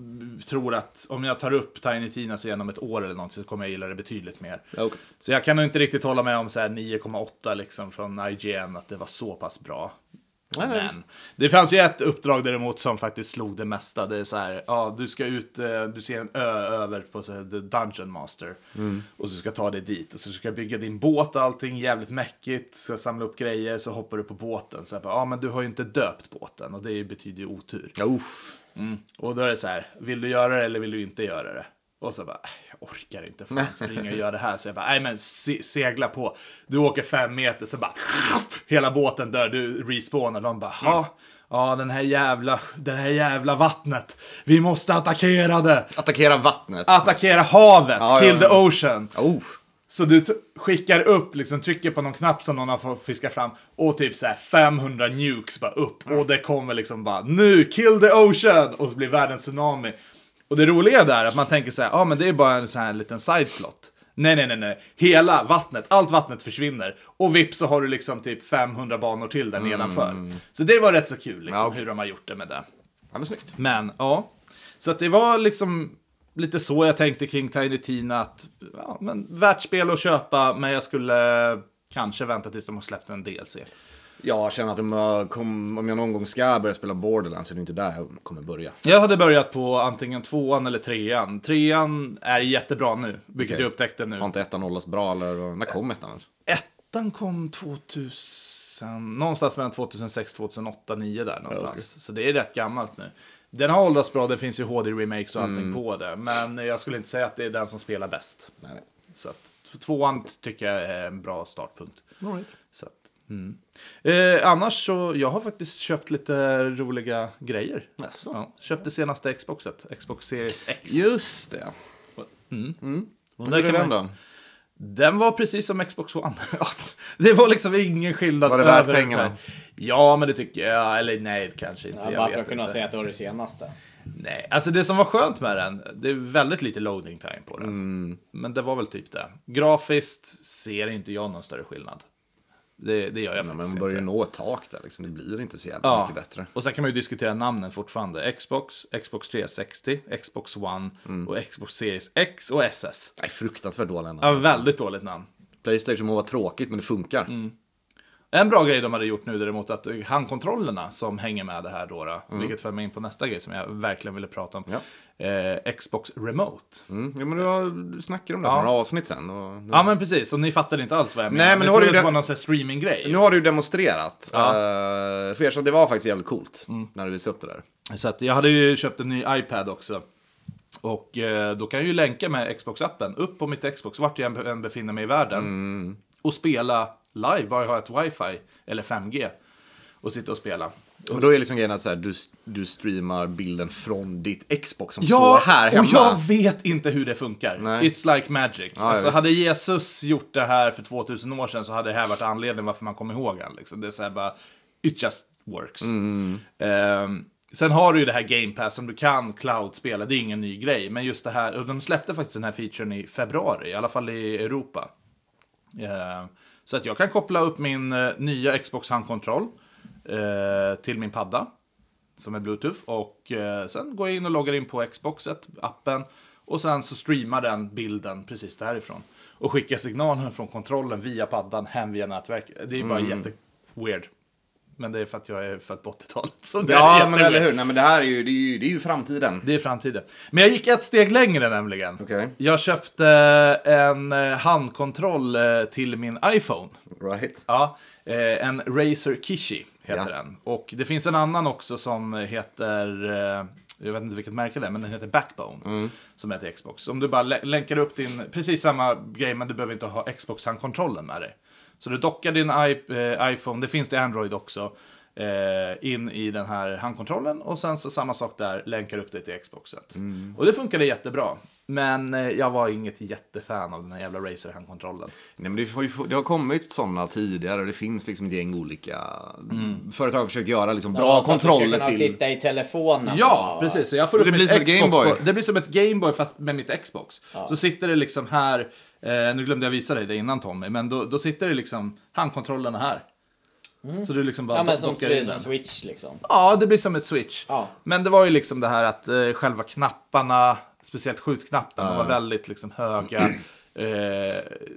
tror att om jag tar upp Tiny Tinas igen om ett år eller någonting så kommer jag gilla det betydligt mer.
Ja, okej.
Så jag kan nog inte riktigt hålla med om så här 9,8 liksom från IGN att det var så pass bra.
Nej, nej,
Men
visst.
det fanns ju ett uppdrag däremot som faktiskt slog det mesta. Det är så här, ja, du ska ut, eh, du ser en ö över på så här, The Dungeon Master. Och så ska ta dig dit. Och så ska du bygga din båt och allting, jävligt mäckigt. Ska samla upp grejer, så hoppar du på båten. Så här, bara, ja, men du har ju inte döpt båten och det är- betyder ju otur.
Ja, usch.
Mm. Och då är det så här, vill du göra det eller vill du inte göra det? Och så bara, "Äh, jag orkar inte fan springa och göra det här. Så jag bara, nej men se- segla på. Du åker fem meter, så bara, <laughs> hela båten dör, du respawnar. De bara, ja, ja den här jävla, den här jävla vattnet. Vi måste attackera det.
Attackera vattnet.
Attackera havet,
Ja, ja,
kill the
ja.
ocean.
Ja, usch.
Så du t- skickar upp, liksom trycker på någon knapp som någon har fått fiska fram och typ så här 500 nukes bara upp och det kommer liksom bara nu, kill the ocean! Och så blir världen tsunami. Och det roliga där är att man tänker så här, ja ah, men det är bara en sån här liten sideplot. Nej, nej, nej, nej. Hela vattnet, allt vattnet försvinner. Och vips så har du liksom typ 500 banor till där nedanför. Så det var rätt så kul liksom,
Mm. Ja, okej.
hur de har gjort det med det.
Ja, men snyggt.
Men ja, så att det var liksom lite så jag tänkte kring Tiny Tina. Att, ja, men värt spel att köpa, men jag skulle kanske vänta tills de har släppt en DLC.
Jag känner att om jag, kom, om jag någon gång ska börja spela Borderlands så är det inte där jag kommer börja.
Jag hade börjat på antingen tvåan eller trean. Trean är jättebra nu, vilket
Okej.
jag upptäckte nu.
Har inte ettan hållits bra eller när kom ettan ens?
Ettan kom 2000, någonstans mellan 2006, 2008, 2009 där någonstans. Så det är rätt gammalt nu. Den har åldrats bra, det finns ju HD-remakes och allting på det. Men jag skulle inte säga att det är den som spelar bäst.
Mm. Nej, nej.
Så att tvåan tycker jag är en bra startpunkt. Så att, mm. eh, annars så, jag har faktiskt köpt lite roliga grejer.
Jaså?
Ja, köpte senaste Xboxet, Xbox Series X.
Just det. Mm.
Och där
Hur är
kan
den
Mm. man-
då?
Den var precis som Xbox One. <laughs> det var liksom ingen skillnad.
Var det värt
över-
pengarna?
Ja, men det tycker jag. Eller nej, kanske inte.
Ja,
jag
bara
vet
för att kunna
inte.
säga att det var det senaste.
Nej, alltså det som var skönt med den, det är väldigt lite loading time på den.
Mm.
Men det var väl typ det. Grafiskt ser inte jag någon större skillnad. Det, det gör jag
Nej, men
faktiskt
man börjar ju
inte.
nå ett tak där liksom. Det blir inte så jävla
Ja,
mycket bättre.
och sen kan man ju diskutera namnen fortfarande. Xbox, Xbox 360, Xbox One
Mm.
och Xbox Series X och SS.
Nej, fruktansvärt dålig ändå.
Ja, väldigt dåligt namn.
Playstation må vara tråkigt, men det funkar.
Mm. En bra grej de hade gjort nu däremot att handkontrollerna som hänger med det här då, då
Mm.
vilket för mig in på nästa grej som jag verkligen ville prata om. Eh, Xbox Remote.
Mm. Jo, men du, har, du snackade om det för några avsnitt sen. Och nu,
Ja men precis, och ni fattade inte alls vad jag menade.
men
Ni
nu har
trodde
du
att det
den-
var någon sån här streaminggrej.
nu har du ju demonstrerat. eh, för er, så det var faktiskt jävligt coolt
Mm.
när du visade upp det där.
Så att jag hade ju köpt en ny iPad också. Och eh, då kan jag ju länka med Xbox-appen upp på mitt Xbox, vart jag än be- än befinner mig i världen.
Mm.
Och spela live, bara jag har ett wifi, eller 5G. Och sitta och spela.
Men då är liksom grejen att så här, du, du streamar bilden från ditt Xbox som
Ja,
står här
och
hemma.
jag vet inte hur det funkar.
Nej.
It's like magic.
ja,
alltså,
visst.
hade Jesus gjort det här för 2000 år sedan så hade det här varit anledningen varför man kom ihåg han. Liksom. Det är så här bara, it just works.
Mm,
Ehm, sen har du ju det här Game Pass som du kan cloud-spela, det är ingen ny grej. Men just det här, och de släppte faktiskt den här featuren i februari, i alla fall i Europa. Eh, Så att jag kan koppla upp min eh, nya Xbox handkontroll eh, till min padda som är Bluetooth och eh, sen går jag in och loggar in på Xboxet, appen och sen så streamar den bilden precis därifrån och skickar signalen från kontrollen via paddan hem via nätverket. Det är bara
Mm.
jätte weird. Men det är för att jag är född på 80-talet. Så det är
Ja, men
jätteweird.
eller hur. Nej, men det här är ju, det är ju, det är ju framtiden.
Det är framtiden. Men jag gick ett steg längre nämligen.
Okej.
Jag köpte en eh, handkontroll eh, till min iPhone.
Right.
Ja, eh, en Razer Kishi heter
Ja.
den. Och det finns en annan också som heter, eh, jag vet inte vilket märke det är, men den heter Backbone. Som heter Xbox. Om du bara lä- länkar upp din, precis samma grej men du behöver inte ha Xbox-handkontrollen med dig. Så du dockar din i- eh, iPhone, det finns det i Android också. eh, in i den här handkontrollen och sen så samma sak där, länkar upp det till Xboxet. Och det funkade jättebra. Men eh, jag var inget jättefan av den här jävla Razer-handkontrollen.
Nej, men det, har ju, det har kommit sådana tidigare. Det finns liksom ett gäng olika företag har försökt göra liksom bra
Ja, så att du ska
kontroller
kunna
till.
titta i telefonen.
Ja, precis. Så jag får
Det
upp
blir
mitt
som ett
Xbox
Gameboy.
på- Det blir som ett Gameboy fast med mitt Xbox. Så sitter det liksom här, eh, nu glömde jag visa dig det innan Tommy, men då, då sitter det liksom handkontrollerna här. Så du liksom bara
Mm. Ja,
do-
men som,
dockar in
som
den.
Switch liksom.
Ja, det blir som ett switch.
Ja.
Men det var ju liksom det här att eh, själva knapparna, speciellt skjutknapparna, var väldigt liksom höga. <clears throat> Eh,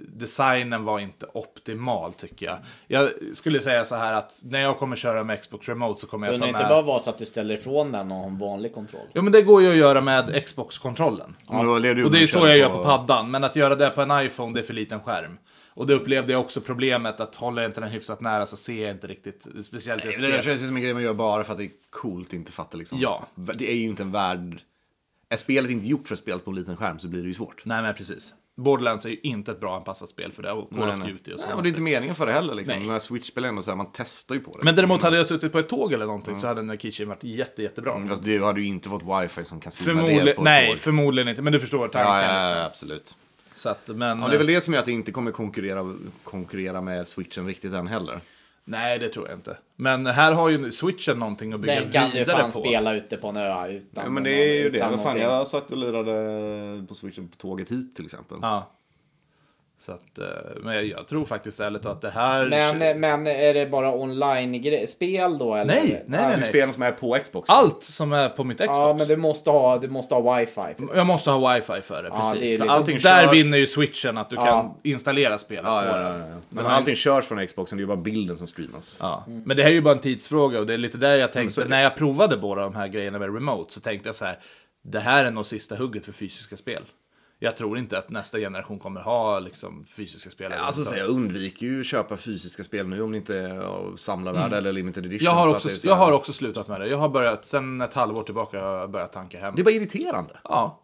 designen var inte optimal tycker jag. Jag skulle säga så här att när jag kommer köra med Xbox Remote så kommer jag ta
Kunde
med...
inte bara vara så att du ställer ifrån den och har en vanlig kontroll?
Jo men det går ju att göra med Xbox-kontrollen.
Men då leder ju
Och det är
med
ju
att
så
köra
jag gör på paddan. Men att göra det på en iPhone, det är för liten skärm. Och det upplevde jag också problemet att håller jag inte den hyfsat nära så ser jag inte riktigt. Speciellt i ett
Det där
spel.
känns ju som en grej man gör bara för att det är coolt inte fatta liksom.
Ja.
Det är ju inte en värld... Är spelet inte gjort för spelet på en liten skärm så blir det ju svårt.
Nej men precis. Borderlands är ju inte ett bra anpassat spel för det. Och Call
Nej,
of
nej.
Duty och
nej,
sådana
och det är
spel.
inte meningen för det heller liksom.
Nej.
Nej. När Switch-spel är ändå så här, man testar ju på det.
Men
liksom.
däremot hade jag suttit på ett tåg eller någonting så hade den här kitchen varit jätte, jättebra.
Mm, Fast du hade ju inte fått wifi som kan streama det på
Förmodligen,
ett
nej
tåg.
förmodligen inte. Men du förstår tanken.
Ja, ja, ja,
liksom.
absolut.
Så att, men, eh,
Ja, det är väl det som gör att det inte kommer konkurrera, konkurrera med switchen riktigt än heller.
Nej det tror jag inte. Men här har ju switchen någonting att bygga
Den kan du
vidare
fan
på.
spela ute på en ö utan
Ja, men det är ju det.
utan
Vad fan,
någonting.
jag satt och lirade på switchen på tåget hit till exempel.
Ja. Så att, eh, men jag, jag tror faktiskt ärligt att det här...
Men, eh, men är det bara online-spel då? Eller?
nej, nej, nej,
Det är
nej.
spelen som är på Xbox.
Allt som är på mitt Xbox.
Ja, men du måste ha, du måste ha wifi. för det.
Jag måste ha wifi för det,
Ja,
precis.
det är
Så
liksom-
Allting
Där
körs-
vinner ju switchen att du kan installera spelet
Ja,
på
ja,
den.
ja, ja. Men allting körs från Xboxen, det är ju bara bilden som streamas.
Ja. Mm. Men det här är ju bara en tidsfråga och det är lite där jag tänkte.
Mm,
När jag provade båda de här grejerna med remote så tänkte jag så här. Det här är nog sista hugget för fysiska spel. Jag tror inte att nästa generation kommer ha liksom, fysiska spel.
Alltså så
överhuvudtaget.
jag undviker ju att köpa fysiska spel nu om det inte är av samlarvärde eller limited edition.
Mm. jag, har
för att
också,
det är så
jag
här-
har också slutat med det. Jag har börjat, sen ett halvår tillbaka har jag börjat tanka hem.
Det är bara irriterande
Ja,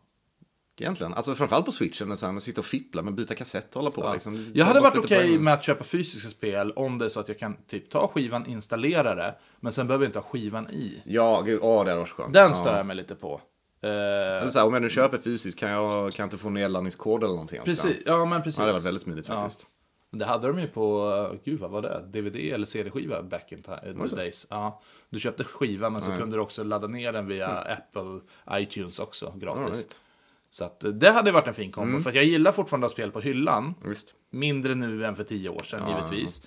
egentligen. Alltså framförallt på switchen, men så här, man sitter och fipplar med byta kassett och hålla på. Liksom,
Jag hade
Ta bort
varit
lite
okej
poäng.
med att köpa fysiska spel om det är så att jag kan typ ta skivan, installera det, men sen behöver jag inte ha skivan i.
Ja, gud, åh, det hade varit skönt.
Den
Ja.
stör jag mig lite på. Eh,
Eller så här, om jag nu köper fysiskt, kan jag, kan jag inte få nedladdningskod eller någonting? också?
precis, ja men precis.
Ja, det hade varit väldigt smidigt
Ja.
faktiskt.
Det hade de ju på, eh, gud vad var det? DVD eller CD-skiva back in ti- the days. Ja, du köpte skiva men så kunde du också ladda ner den via Apple iTunes också gratis.
Mm. Alright. Mm.
Så att, eh, det hade varit en fin kombo, för att jag gillar fortfarande att ha spel på hyllan.
Visst.
Mindre nu än för tio år sedan givetvis.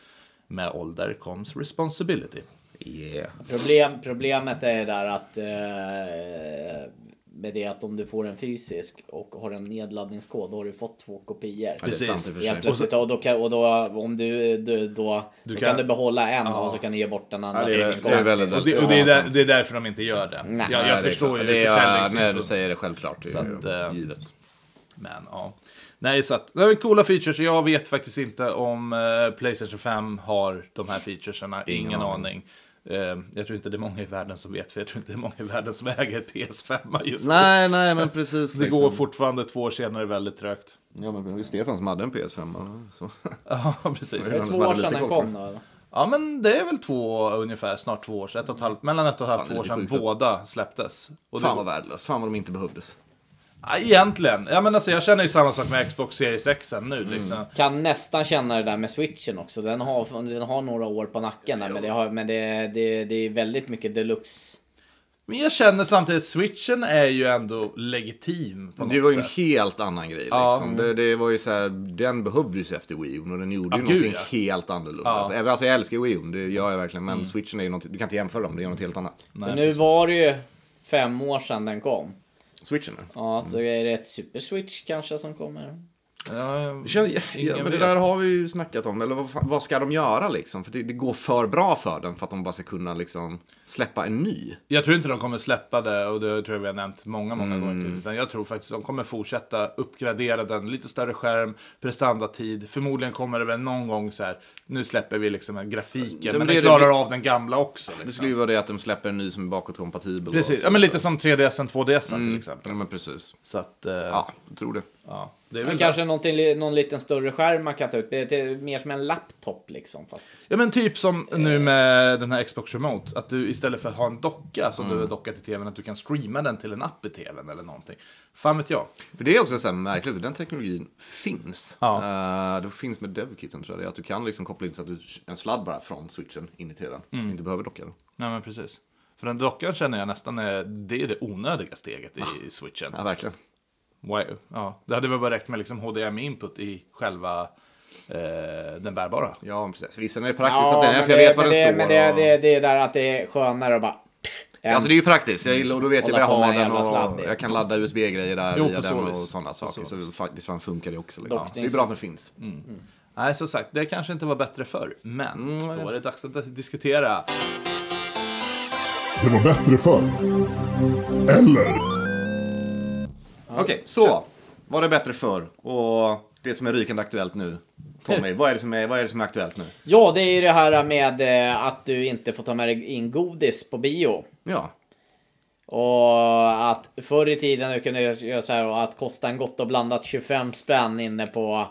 Med ålder comes responsibility.
Yeah.
Problem, problemet är där att eh, med det att om du får en fysisk och har en nedladdningskod då har du fått två kopior.
Ja, det är
Precis.
sant i och för sig.
Helt plötsligt, och, då kan, och då om du, du då, då
kan-
kan, du behålla en och så kan du ge bort den andra.
Ja, det är
till
väl-
din
det är
kompis.
väldigt-
Och det, och det, är
Alltså, Ja,
där,
sant.
det är därför de inte gör det.
Nej.
jag
Nej,
jag
det är
förstår
klart.
ju
det är,
försäljningssynpunkt.
När du säger det självklart, det är
Så att, eh,
ju givet.
Men ja. Nej, så att, det är coola features. Jag vet faktiskt inte om eh, Playstation 5 har de här featuresarna. Ingen,
Ingen aning.
aning. Eh, jag tror inte det är många i världen som vet, för jag tror inte det är många i världen som äger ett PS5 just nu.
Nej, nej, men precis.
Det går fortfarande två år senare väldigt trögt.
Ja, men det var ju Stefan som hade en PS5. Så.
<laughs> Ja, precis.
Det är
som
två
hade
år
lite
sedan
koll
den
på
kom då.
Ja, men det är väl två ungefär, snart två år, sedan, ett och ett halvt, mellan ett och ett halvt
Fan, det är
år sedan
sjukt att-
båda släpptes. Och det-
Fan vad värdelöst. Fan vad de inte behövdes.
Ja, egentligen. Ja, men alltså, jag känner ju samma sak med Xbox Series X nu.
Mm.
Liksom.
Kan nästan känna det där med switchen också. Den har, den har några år på nacken där, men, det, har, men det, det, det är väldigt mycket deluxe.
Men jag känner samtidigt, switchen är ju ändå legitim på något
Det var ju en
sätt.
helt annan grej. Liksom. Det, det var ju så här, den behövdes ju efter Wii U och den gjorde ju
gud,
någonting
ja. Mm.
helt annorlunda. Alltså, även- alltså, jag älskar Wii U, det gör jag verkligen. Men switchen är ju något, du kan inte jämföra dem, det är något helt annat.
Men nu var det ju fem år sedan den kom.
Switchen är.
Ja, så är det ett super switch kanske som kommer.
Ja,
Det känns- Ja,
ingen
ja, men det
vet.
där har vi ju snackat om. Eller vad, fan- vad ska de göra liksom? För det, det går för bra för den för att de bara ska kunna liksom släppa en ny.
Jag tror inte de kommer släppa det, och det tror jag vi har nämnt många, många
Mm.
gånger till. Utan jag tror faktiskt de kommer fortsätta uppgradera den, lite större skärm, prestandatid. Förmodligen kommer det väl någon gång så här, nu släpper vi liksom grafiken, men,
men det
den
är-
klarar av den gamla också.
Det
Liksom.
skulle ju vara det att de släpper en ny som är bakåtkompatibel. och
Precis,
så
ja, men lite
vidare.
som 3DS och 2DS till exempel.
Mm. Ja men precis.
Så att, eh,
Ja, jag tror det.
Ja. Det är
Men
väl
kanske någonting, li- någon liten större skärm man kan ta ut. Det är till- mer som en laptop liksom. Fast.
Ja men typ som nu med den här Xbox Remote. Att du istället för att ha en docka som du är docka till tvn, att du kan streama den till en app i tvn eller någonting. Fan vet jag.
För det är också så här märkligt, för den teknologin finns.
Ja.
Eh, det finns med DevKitten tror jag, det är att du kan liksom koppla in så att du en sladd bara från switchen in i tvn.
Mm.
Inte behöver docka den.
Nej men precis. För den dockan känner jag nästan är det, är det onödiga steget i switchen.
Ja, verkligen.
Wow. Ja, det hade väl bara räckt med liksom HDMI-input i själva eh, den bärbara.
Ja, precis. Visst, den är praktiskt att den är, för jag vet var den
det,
står.
Men det,
och...
det, det är där att det är skönare att bara...
Ja, Alltså det är ju praktiskt, jag gillar, och då vet jag
Hålla
där jag
på med
har
en
den
jävla sladd,
och
det.
jag kan ladda USB-grejer där
Jo,
via
på så
den och
vis.
sådana saker. Så, faktiskt fan funkar det också. Liksom.
Dock,
Det är bra att den finns.
Mm.
Nej, som sagt, det kanske inte var bättre förr. Men då är det dags att diskutera.
Det var bättre förr. Eller?
Okej,
Alltså,
så. Var det bättre förr? Och det som är rykande aktuellt nu? Tommy, vad är det som är, vad är, det som är aktuellt nu?
Ja, det är ju det här med eh, att du inte får ta med dig in godis på bio.
Ja,
Och att förr i tiden du kunde göra så här och att kosta en gott och blandat 25 spänn inne på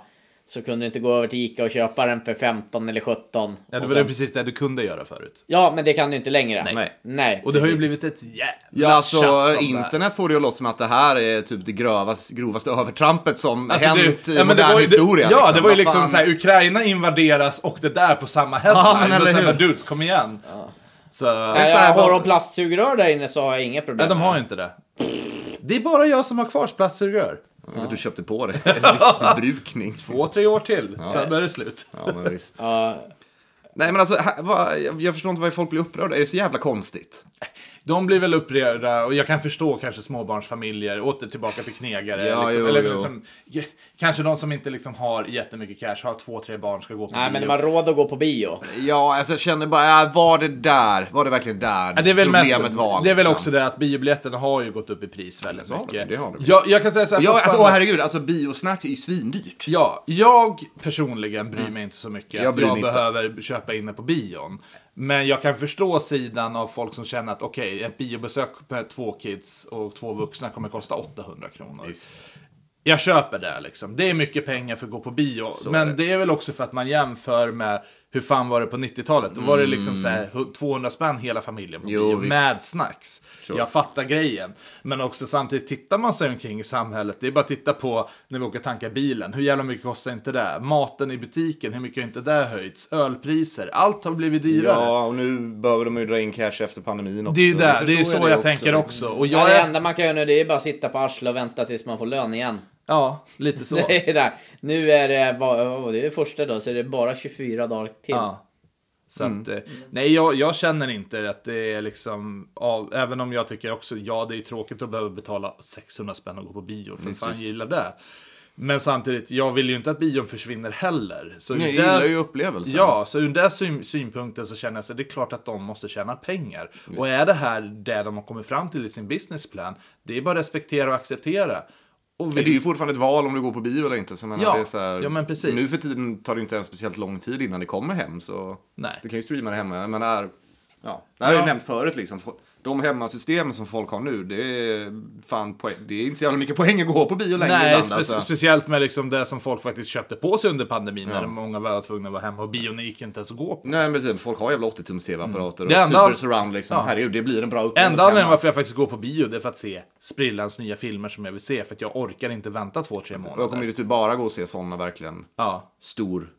så kunde du inte gå över till Ica och köpa den för 15 eller 17.
Ja, det
Och
var
sen-
det precis det du kunde göra förut.
ja men det kan du inte längre.
Nej.
Nej.
Och det har ju
precis.
blivit ett jävla
Ja,
tjafs om
alltså
det här.
internet får det att låta som att det här är typ det grövas, grovaste övertrampet som
Alltså, det-
hänt i
ja, men det
modern
var ju- det-
historia.
Ja,
liksom.
det var ju
Vad
liksom
fan?
så här, Ukraina invaderas och det där på samma headline.
Ja, men
Då
eller
säger man,
hur?
dudes, kom igen. Så,
Ja,
nej,
så här,
jag har
vad-
de plastsugrör där inne så har jag inga problem.
de har ju inte det. Det är bara jag som har kvar plastsugrör.
För att Du köpte på <laughs> det. En viss förbrukning.
Två, tre år till, sen är det slut.
Ja, men visst.
Ja,
Nej, men alltså, här, vad- jag, jag förstår inte varför folk blir upprörda. Är det så jävla konstigt?
De blir väl upprörda och jag kan förstå kanske småbarnsfamiljer, åter tillbaka till knegare.
Ja,
liksom,
jo,
eller
jo.
Liksom, k- kanske de som inte liksom har jättemycket cash, har två, tre barn, ska gå på
nej, men
bio.
de har råd att gå på bio.
Ja, alltså, jag känner bara, äh, var det där? Var det verkligen där
Ja, det är väl mest,
problemet var?
Det är väl
liksom?
också det att biobiljetterna har ju gått upp i pris väldigt
har de,
mycket.
det har de.
jag, jag kan säga så här,
Ja, alltså, åh,
fortfarande-
herregud, alltså biosnack är ju svindyrt.
Ja, jag personligen bryr mig inte så mycket
Mm. Jag
att
bryr
jag
mig inte.
behöver köpa inne på bion. Men jag kan förstå sidan av folk som känner att okej, ett biobesök med två kids och två vuxna kommer kosta 800 kronor. Jag köper det liksom. Det är mycket pengar för att gå på bio. men
är
det. är väl också för att man jämför med hur fan var det på 90-talet? Då var det liksom så här, hu- 200 spänn hela familjen på
Jo,
bio
visst.
med snacks. Jag fattar grejen. Men också samtidigt tittar man sig omkring i samhället. Det är bara att titta på när vi åker och tankar bilen. Hur jävla mycket kostar inte det? Maten i butiken, hur mycket har inte det höjts? Ölpriser, allt har blivit dyrare.
Ja, och nu behöver de ju dra in cash efter pandemin också.
Det är ju
Jag
där, det är
förstår
så jag, tänker också. Och
Ja,
jag
det
är...
enda man kan göra nu det är bara att sitta på arslet och vänta tills man får lön igen.
Ja, lite
<laughs>
så.
Det är där. Nu är det, bara- åh, det är det första då, så det är bara 24 dagar till.
Ja. Så att,
Mm.
eh, nej, jag, jag känner inte att det är liksom, av, även om jag tycker också, ja det är tråkigt att behöva betala 600 spänn och gå på bio,
Mm,
för fan gillar det. Men samtidigt, jag vill ju inte att bion försvinner heller. Så ur
Nej,
det-
jag gillar ju upplevelsen.
Ja, så ur den syn, synpunkten så känner jag så det är klart att de måste tjäna pengar. Och är det här det de har kommit fram till i sin businessplan, det är bara att respektera och acceptera. Och
Men
vill-
det är ju fortfarande ett val om du går på bio eller inte. Så jag menar,
Ja.
det är så här,
Ja, men precis.
Nu för tiden tar det ju inte ens speciellt lång tid innan det kommer hem. Så
Nej.
Du kan ju streama det hemma. Jag menar, ja. Det här har
Ja.
jag nämnt förut. Liksom. De hemmasystemen som folk har nu, det är, fan, poäng. Det är inte så jävla mycket poäng att gå på bio längre
Nej,
ibland.
spe-
alltså.
speciellt med liksom det som folk faktiskt köpte på sig under pandemin. När många var tvungna att vara hemma och bion gick inte ens att gå på.
Nej, men precis. Folk har jävla 80-tums tv-apparater
Mm. Det
och
enda-
super surround liksom.
Ja.
Herregud, det blir en bra upplevelse
Enda anledningen
hemma.
varför jag faktiskt går på bio det är för att se sprillans nya filmer som jag vill se. För att jag orkar inte vänta två, tre
Och jag kommer
månader.
ju typ bara gå och se sådana verkligen
Ja.
stor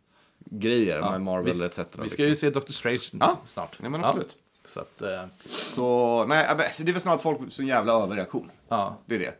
grejer med Marvel liksom. etc.
Vi ska ju se Doctor Strange
Ja.
snart.
Ja, men absolut.
Så att, eh,
Så nej, men, alltså, det är väl snarare att folk så en jävla överreaktion.
ja.
Det är det.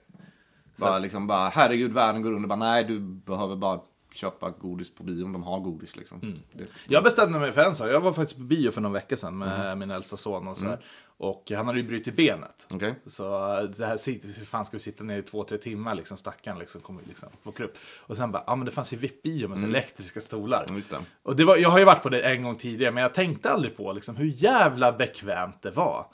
Bara liksom bara, herregud världen går under. Bara, nej, du behöver bara köpa godis på bio om de har godis liksom. Det,
Jag bestämde mig för en sak. Jag var faktiskt på bio för någon vecka sedan med
Mhm.
min äldsta son och så här. Och han hade ju brutit benet.
Mm. Okej.
Så eh, det här, sit- hur fan ska vi sitta ner i två, tre timmar liksom? Stackaren liksom kommer liksom, få upp. Och sen bara, ja ah, men det fanns ju VIP-bio med så elektriska stolar.
Mm. just det.
Och det var, jag har ju varit på det en gång tidigare, men jag tänkte aldrig på liksom, hur jävla bekvämt det var.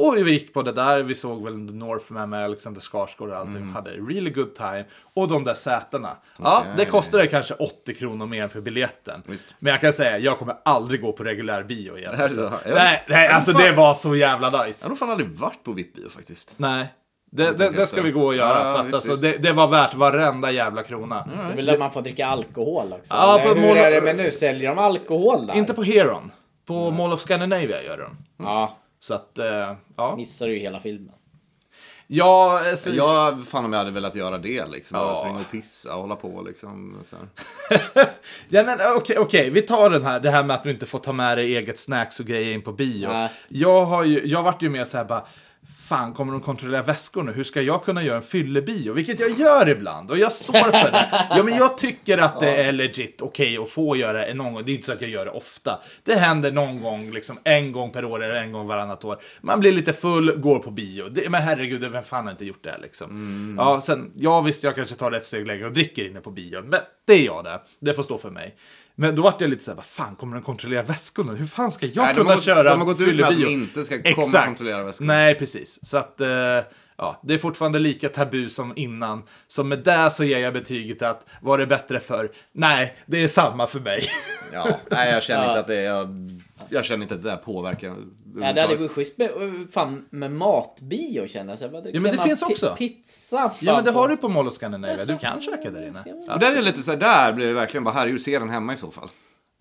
Och vi gick på det där, vi såg väl Northman med Alexander Skarsgård och allting.
Mm.
Hade a really good time. Och de där sätena. Ja, det kostade kanske 80 kronor mer för biljetten.
Visst.
Men jag kan säga, jag kommer aldrig gå på reguljär bio igen.
Är det så?
alltså.
Ja.
Nej, nej, alltså
Fan.
det var så jävla
jag
nice.
har nog fan aldrig varit på VIP-bio faktiskt.
Nej. Det, det, det ska vi gå och göra.
Ja,
för att,
visst,
alltså,
visst.
Det, det var värt varenda jävla krona.
Det är väl där man får dricka alkohol också?
Ja,
Eller
på
hur
mål-
är det med nu? Säljer de alkohol där?
Inte på Heron. På Mall of Scandinavia gör de.
Ja,
Så att, eh, ja.
missar ju hela filmen.
Ja, alltså,
Jag, fan om jag hade velat göra det liksom. Bara
Ja.
springa och pissa och hålla på liksom. Så här.
<laughs> Ja, men eh, okej, okej. vi tar den här, det här med att du inte får ta med dig eget snacks och grejer in på bio.
Nej.
Jag har ju, jag vart ju med så här bara, fan kommer de kontrollera väskor nu? Hur ska jag kunna göra en fyllebio? Vilket jag gör ibland och jag står för det. Ja, men jag tycker att det är legit okej att få göra det någon gång. Det är inte så att jag gör det ofta. Det händer någon gång, liksom en gång per år eller en gång varannat år. Man blir lite full, går på bio. Det, men herregud, vem fan har inte gjort det här, liksom? Ja, sen, ja visst, jag kanske tar ett steg längre och dricker inne på bion. Men det är jag det. Det får stå för mig. Men då vart jag lite såhär, vad fan kommer de kontrollera väskorna? Hur fan ska jag
Nej, de
kunna
har gått-
köra
de har gått ut med att de
fyllebio?
inte ska komma och
Exakt.
kontrollera väskorna.
Nej, precis. Så att, eh, ja, det är fortfarande lika tabu som innan. Så med det så ger jag betyget att, var det bättre för? Nej, det är samma för mig.
Ja, nej jag känner inte att det jag, jag känner inte att det där påverkar.
Mm,
Ja, det hade varit schysst med, fan, med matbio känner jag. Så jag bara,
men
kan
det
man
finns
pi-
också.
Pizza.
ja, men det
på-
har du på Mall of Scandinavia.
Jaså?
Du kan käka där inne.
Och där är det lite så här, där blir det verkligen bara, herregud, se den hemma i så fall.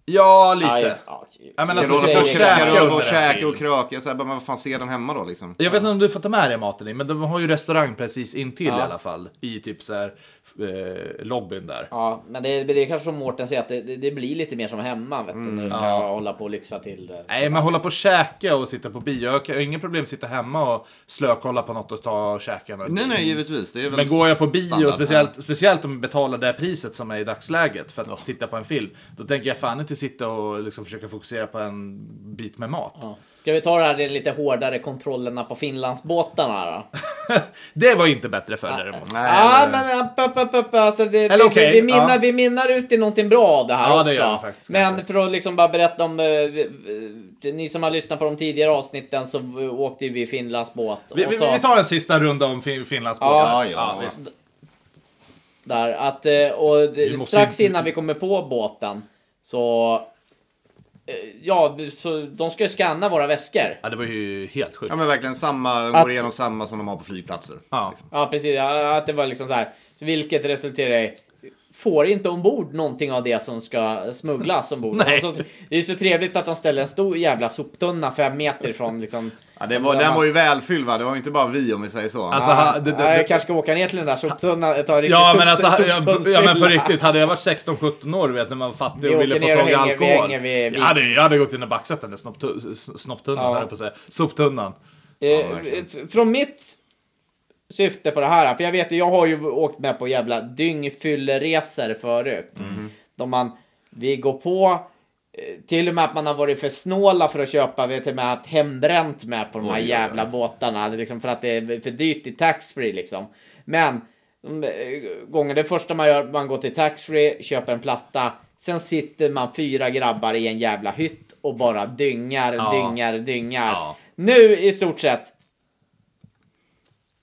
Ja,
Ja, ja,
lite.
ja,
Ja, men
Ska
alltså,
du hålla
sitta
på
och
och käka,
käka
ska du
under
och,
en
käka
film.
och kröka, så här, bara, men vad fan, se den hemma då liksom.
Jag vet inte om du får ta med dig maten in, men de har ju restaurang precis intill i alla fall. I typ så här, eh, lobbyn där.
Ja, men det, det är kanske som Mårten säger, att det, det, det blir lite mer som hemma vet du, när
Mm,
du ska hålla på och lyxa till det.
Nej, men hålla på och käka och sitta på bio. Jag har inget problem att sitta hemma och slökolla på något och ta och käka. något.
Nej, nej, givetvis. Det är väl
Men går jag på bio,
standard.
speciellt, speciellt om jag betalar det priset som är i dagsläget för att titta på en film, då tänker jag fan inte sitta och liksom försöka fokusera på en bit med mat.
Ja. Ska vi ta det här, det lite hårdare kontrollerna på Finlandsbåtarna då?
<laughs> det var inte bättre för däremot.
Nej,
Ja,
nej.
men upp, upp, upp, upp. Alltså, det,
Eller
vi,
okej,
vi, vi, minnar,
ja.
vi minnar ut i någonting bra av det här
Ja,
också.
det gör vi faktiskt,
men
kanske.
för att liksom bara berätta om, eh, vi- vi- ni som har lyssnat på de tidigare avsnitten så eh, åkte ju vi i Finlands båt.
Vi,
och
vi,
så,
vi tar en sista runda om fin, Finlandsbåten.
Ja,
ja.
visst.
där, att, eh, och det-
måste
strax
ju-
innan vi kommer på båten så, eh, ja, så de ska ju scanna våra väskor.
Ja, det var ju helt sjukt.
Ja, men verkligen samma, de
Att-
går igenom samma som de har på flygplatser. Liksom.
Ja.
Ja, precis. Ja, Att det var liksom så här. Så vilket resulterar i Får inte ombord någonting av det som ska
<laughs>
smugglas ombord.
Nej.
Och Så, det är ju så trevligt att de ställer en stor jävla soptunna fem meter från liksom...
Ja, det var, den var ju välfylld va? Det var ju inte bara vi om vi säger så.
Alltså, ha- det, det,
Ja, jag
det,
kanske ska åka ner till den där soptunnan, ta en riktig
ja,
sop,
men alltså, ja, ja, men på
soptunnsfylla.
riktigt, hade jag varit 16-17 år, vet, när man var fattig
Vi
och ville
åker
få
ner och
tag i
hänger- vi
alkohol.
hänger vid- vid-
Jag, hade, jag hade gått in och baxat den där snopptu- s- snopptunnan,
Ja.
höll jag på att säga. Soptunnan.
Eh, f- från mitt syfte på det här, för jag vet ju, jag har ju åkt med på jävla dyngfylleresor förut. Då man, vi går på, eh, till och med att man har varit för snåla för att köpa, vi har till och med haft hembränt med på de här jävla båtarna, det är liksom för att det är för dyrt i taxfree liksom. Men, de, eh, gånger, det första man gör, man går till taxfree, köper en platta, sen sitter man fyra grabbar i en jävla hytt och bara dyngar,
Ja.
dyngar, dyngar.
Ja.
Nu i stort sett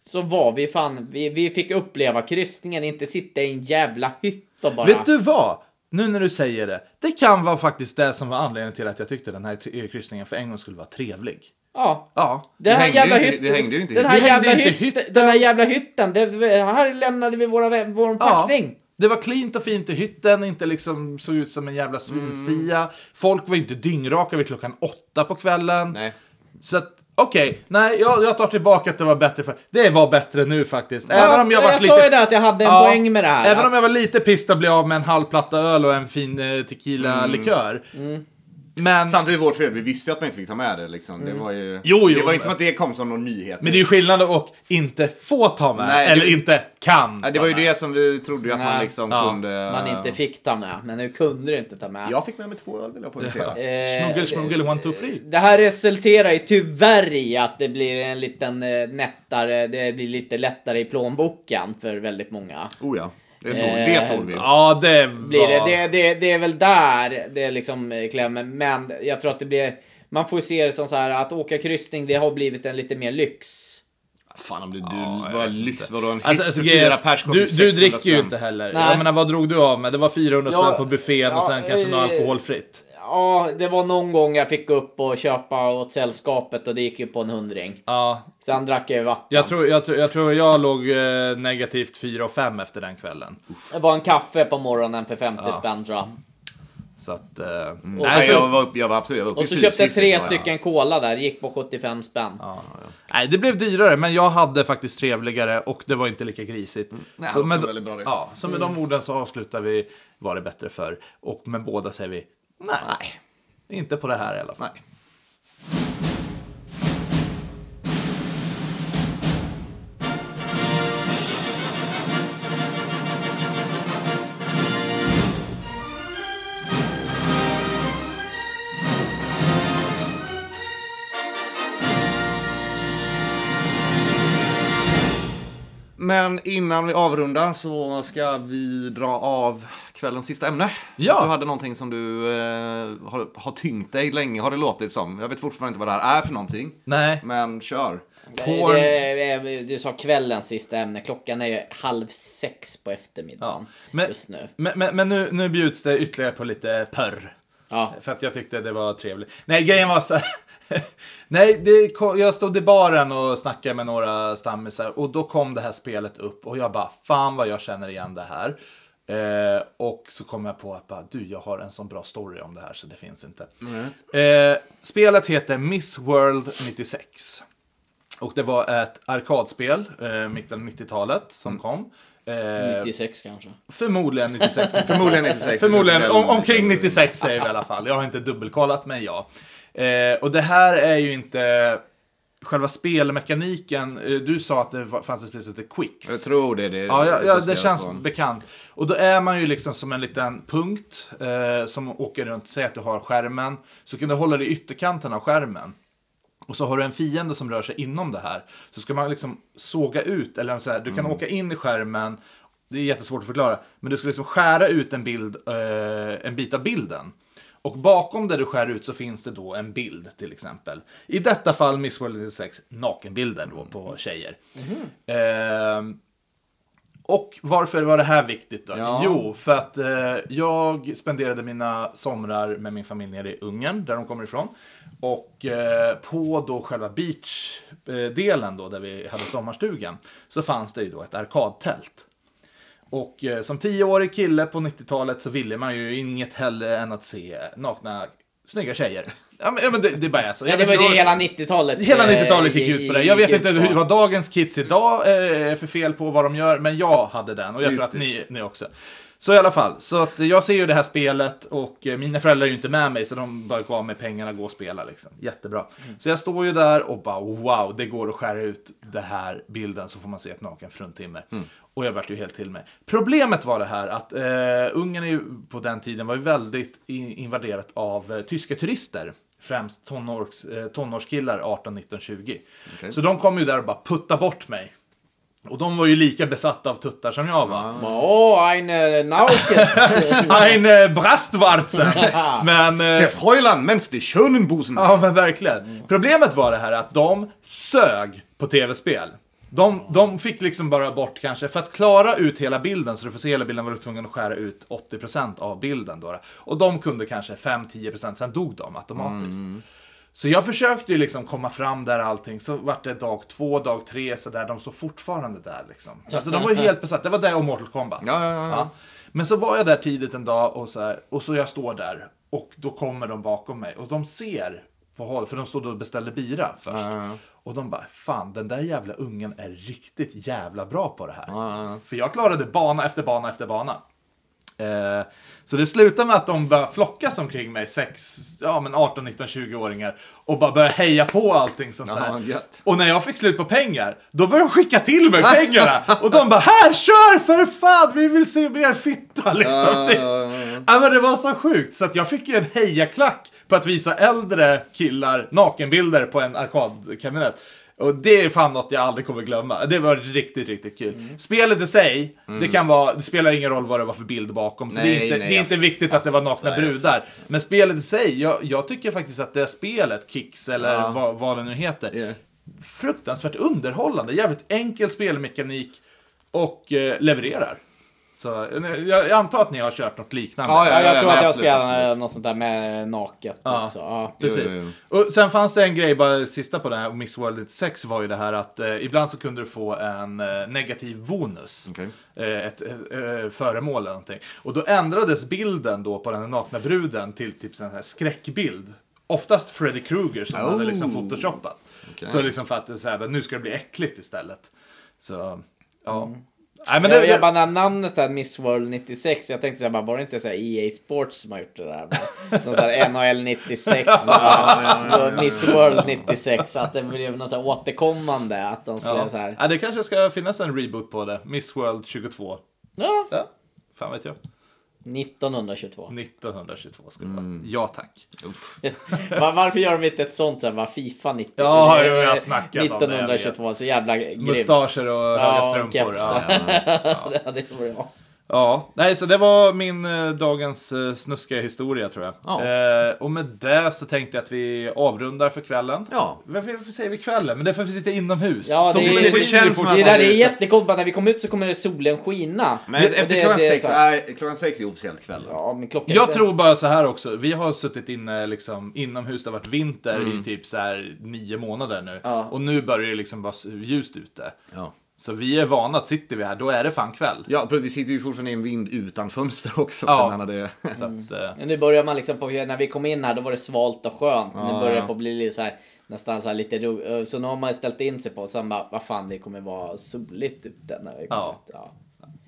så var vi fan, vi, vi fick uppleva kryssningen, inte sitta i en jävla hytt och bara...
Vet du vad? Nu när du säger det, det kan vara faktiskt det som var anledningen till att jag tyckte den här t- kryssningen för en gång skulle vara trevlig.
Ja.
Ja.
Den här
hängde ju
jävla
inte-
hytten,
det hängde ju inte i
den här
hytten.
jävla
Vi hängde inte i
hytten,
hytten.
den här jävla hytten, det, här lämnade vi våra, vår packning.
Det var cleant och fint i hytten, inte liksom såg ut som en jävla svinstia. Folk var inte dyngraka vid klockan åtta på kvällen.
Nej.
Så att, okej, nej, jag, jag tar tillbaka att det var bättre för Det var bättre nu faktiskt. Även om jag
jag
varit
sa ju
lite...
det att jag hade en
Ja,
poäng med det här.
Även om jag var lite pissed att bli av med en halv platta öl och en fin eh, tequila-likör.
Mm.
Men...
Samtidigt vårt fel, vi visste ju att man inte fick ta med det liksom. Det var ju...
Mm. Jo, jo,
det var ju
men-
inte som att det kom som någon nyhet.
Men det är ju skillnad att inte få ta med,
Nej, det-
eller inte kan.
Ja, det
ta
var ju
med.
det som vi trodde ju att man
Nej.
liksom
Ja,
kunde...
Man inte fick ta med, men nu kunde du inte ta med.
Jag fick med mig två öl vill jag poängtera.
Eh,
Smuggel, smuggel, one, two, three.
Det här resulterar ju tyvärr i att det blir en liten eh, nättare, det blir lite lättare i plånboken för väldigt många.
Oh ja, det såg,
Eh,
det såg vi.
Ja, det var...
Blir det, det, det, det är väl där det liksom eh, klämmer, men jag tror att det blir, man får se det som så här att åka kryssning, det har blivit en lite mer lyx.
Fan om du, du
jag
var
vet
lyx,
inte.
vadå en
Alltså,
alltså,
alltså,
för fyra
grejen-
pers kostar
du, du
600
dricker ju
spänn.
inte heller.
Nej.
Jag menar, vad drog du av med? Det var 400
Ja,
spänn på buffén
ja,
och sen kanske något
eh,
alkoholfritt.
ja, det var någon gång jag fick upp och köpa åt sällskapet och det gick ju på en hundring.
Ja,
Sen drack jag ju vatten.
jag tror jag, tror- jag, tror jag låg eh, negativt 4 och 5 efter den kvällen.
Det var en kaffe på morgonen för 50 spänn tror jag.
Så att... Eh,
Och
Mm. Nej,
så-
jag var uppe, jag var absolut, jag var uppe
Och
i
så köpte jag
fyrsiffrigt,
tre
ja, ja.
stycken cola där, det gick på 75 spänn.
Nej, det blev dyrare, men jag hade faktiskt trevligare och det var inte lika grisigt.
Mm. Nej,
så
också
med,
väldigt bra Mm. resa.
ja, så med de orden så avslutar vi Var det bättre för Och med båda säger vi nej, inte på det här i alla fall.
Nej. Men innan vi avrundar så ska vi dra av kvällens sista ämne.
Ja.
Du hade någonting som du eh, har, har tyngt dig länge, har det låtit som. Jag vet fortfarande inte vad det här är för någonting.
Nej,
Men kör.
Porn.
Det, det, du sa kvällens sista ämne, klockan är ju halv sex på eftermiddagen
men,
just nu.
men, men, men nu, nu bjuds det ytterligare på lite pörr.
Ja.
För att jag tyckte det var trevligt. Nej, grejen var så <laughs> här- Nej, det, kom- jag stod i baren och snackade med några stammisar och då kom det här spelet upp och jag bara, fan vad jag känner igen det här. Eh, och så kom jag på att bara, du, jag har en sån bra story om det här så det finns inte. Eh, spelet heter Miss World 96. Och det var ett arkadspel, eh, mitten av 90-talet, som
Mm.
kom. Eh,
96 kanske.
förmodligen 96. <laughs>
Förmodligen 96.
Förmodligen om, omkring 96 säger vi i alla fall. Jag har inte dubbelkollat, men ja. Eh, och det här är ju inte själva spelmekaniken. Eh, Du sa att det var- fanns ett spel som hette Quicks.
Jag tror det. det
Ja, ja, ja det
eh, baserat
känns
på en-
bekant. Och då är man ju liksom som en liten punkt eh, som åker runt. Säg att du har skärmen, så kan du hålla dig i ytterkanten av skärmen. Och så har du en fiende som rör sig inom det här. Så ska man liksom såga ut, eller så här, du
Mm.
kan åka in i skärmen. Det är jättesvårt att förklara. Men du ska liksom skära ut en, bild, eh, en bit av bilden. Och bakom där du skär ut så finns det då en bild till exempel. I detta fall Miss World 96, nakenbilder då
Mm.
på tjejer.
Mhm.
Ehm, och varför var det här viktigt då?
Ja.
Jo, för att eh, jag spenderade mina somrar med min familj nere i Ungern, där de kommer ifrån. Och eh, på då själva beachdelen då, där vi hade sommarstugan, så fanns det ju då ett arkadtält. Och eh, som tioårig kille på 90-talet så ville man ju inget hellre än att se nakna, snygga tjejer. Ja men, ja, men det, det är bara så.
Ja,
Jag
det var
förstår-
ju det hela 90-talet.
Hela
eh,
90-talet gick
i-
ut på det. Jag vet
gick
inte
ut
hur,
på.
vad dagens kids idag eh, är för fel på vad de gör, men jag hade den och jag tror
Just,
att ni,
just.
ni också. Så i alla fall, så att jag ser ju det här spelet och eh, mina föräldrar är ju inte med mig så de bara gav mig pengarna och gå och spela liksom. Jättebra.
Mm.
Så jag står ju där och bara wow, det går att skära ut den här bilden så får man se ett naken fruntimmer.
Mm.
Och jag vart ju helt till mig. Problemet var det här att eh, Ungern är ju, på den tiden var ju väldigt i- invaderat av eh, tyska turister. Främst tonårs, eh, tonårskillar 18, 19, 20.
Okej.
Så de kom ju där och bara putta bort mig. Och de var ju lika besatta av tuttar som jag var.
Ah.
Åh, ein
<laughs>
äh, Nauket.
Ein äh, Brastwarzen! men... eh,
Se Fräulein, mens die schönen Busen.
ja, men verkligen. Problemet var det här att de sög på tv-spel. De, de fick liksom bara bort kanske, för att klara ut hela bilden, så du får se hela bilden, var du tvungen att skära ut 80% av bilden. Då. Och de kunde kanske 5-10%, sen dog de automatiskt. Så jag försökte ju liksom komma fram där allting, så vart det dag två, dag tre, så där, de står fortfarande där liksom. Alltså de var ju helt besatta, det var det och Mortal Kombat.
Ja, ja, ja, ja.
Men så var jag där tidigt en dag och så, här, och så jag står där och då kommer de bakom mig och de ser på håll, för de stod och beställde bira först. Och de bara, fan den där jävla ungen är riktigt jävla bra på det här. För jag klarade bana efter bana efter bana. Eh, så det slutade med att de bara flockas omkring mig, sex, ja men 18, 19, 20-åringar och bara började heja på allting sånt
Ja,
där.
gött.
Och när jag fick slut på pengar, då började de skicka till mig pengarna.
<laughs>
Och de bara, här kör för fan, vi vill se mer fitta <laughs> liksom.
Ah,
typ. Ja, men det var så sjukt, så att jag fick ju en hejaklack på att visa äldre killar nakenbilder på en arkadkabinett. Och det är fan något jag aldrig kommer glömma. Det var riktigt, riktigt kul.
Mm.
Spelet i sig, det kan vara, det spelar ingen roll vad det var för bild bakom. Så det är
Nej,
inte,
nej,
det är
jag
inte viktigt att det var nakna
fattar, jag
brudar. Men spelet i sig, jag, jag tycker faktiskt att det spelet, Kicks eller vad, vad det nu heter,
Yeah.
fruktansvärt underhållande. Jävligt enkel spelmekanik och eh, levererar. Så, jag, jag antar att ni har kört något liknande.
Ja,
Ja, jag tror
nej,
att jag
absolut,
spelade
absolut.
något sånt där med naket
Ja.
också. Ja.
Precis.
Jo, jo,
Och sen fanns det en grej, bara sista på det här, Miss World 96 var ju det här att eh, ibland så kunde du få en eh, negativ bonus.
Okej.
Eh, ett eh, eh, föremål eller någonting. Och då ändrades bilden då på den här nakna bruden till typ sån här skräckbild. Oftast Freddy Krueger som hade liksom
Oh.
photoshoppat. Så liksom för att det är så här, nu ska det bli äckligt istället. Så, ja.
Mm.
Nej, men
jag,
det,
jag bara, när namnet är Miss World 96, jag tänkte så här, bara, var det inte så här EA Sports som har gjort det där? Bara, Som så här NHL
<laughs>
96, och och Miss World 96, att det blev något så här återkommande, att de skulle
ja.
så här,
Ja, det kanske ska finnas en reboot på det. Miss World 22.
ja,
Ja, fan vet jag.
1922.
1922 skulle det vara.
Mm.
Ja tack.
<laughs> Var, varför gör de inte ett sånt så här, bara Fifa 90,
Ja, jo, jag snackat om det, jag vet.
1922, så jävla grymt.
Mustascher och höga
Ja,
strumpor.
keps.
Ja, ja.
<laughs> Ja, det vore as.
ja, nej så det var min eh, dagens eh, snuskiga historia tror jag.
Ja.
Eh, och med det så tänkte jag att vi avrundar för kvällen.
Ja.
Varför, varför säger vi kvällen? Men det är för att vi sitter inomhus.
Ja,
Solen
det, är,
skiner
det, känns
som
fortfarande.
att
det, där,
man är
det är
ute.
jättekult bara när vi kommer ut så kommer solen skina.
Men
Det-
efter
det-
klockan
det är
sex,
så här-
nej, klockan sex är officiellt kvällen.
Ja, men klockan
Jag tror bara så här också, vi har suttit inne liksom, inomhus, det har varit vinter i
Mm.
typ så här nio månader nu.
Ja.
Och nu börjar det liksom vara ljust ute.
Ja.
Så vi är vana att sitter vi här, då är det fan kväll.
Ja, vi sitter ju fortfarande i en vind utan fönster också.
Ja.
Så jag menar det... <laughs>
Så att, eh,
Men Nu börjar man liksom på, när vi kom in här då var det svalt och skönt. nu börjar det på bli lite så här, nästan så här lite ro, Så nu har man ställt in sig på, sen bara, vad fan det kommer vara soligt typ ute när vi kommer
Ja.
ut. Ja,